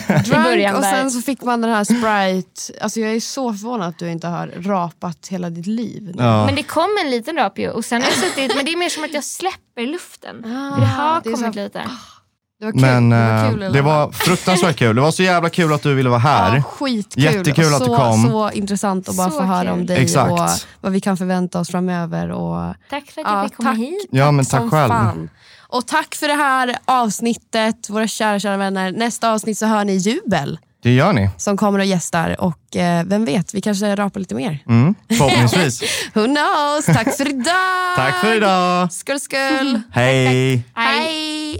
S1: början
S2: drunk och
S1: där.
S2: sen så fick man den här Sprite. Alltså jag är så förvånad att du inte har rapat hela ditt liv.
S3: ja.
S1: Men det kom en liten rap ju. Och sen har jag suttit, men det är mer som att jag släpper luften. För det har
S2: Ah, det är
S1: kommit
S2: så-
S1: lite.
S2: Det var kul.
S3: Men
S2: det var,
S3: eh,
S2: kul i alla
S3: det
S2: fall.
S3: var fruktansvärt kul. Det var så jävla kul att du ville vara
S2: Ja,
S3: här.
S2: skitkul.
S3: Jättekul
S2: och
S3: att du
S2: så,
S3: kom.
S2: Så intressant att bara
S1: Så
S2: få höra
S1: kul.
S2: om dig
S3: Exakt.
S2: och vad vi kan förvänta oss framöver. Och,
S1: Tack för att jag fick komma hit.
S3: Ja, men tack
S2: som
S3: själv.
S2: fan. Och tack för det här avsnittet, våra kära, kära vänner. Nästa avsnitt så hör ni Jubel
S3: Det gör ni.
S2: som kommer och gästar. Och eh, vem vet, vi kanske rapar lite mer.
S3: Mm, förhoppningsvis.
S2: Who knows? Tack för idag!
S3: Tack för idag. Mm.
S2: Skål, skål!
S3: Hej.
S2: Hej!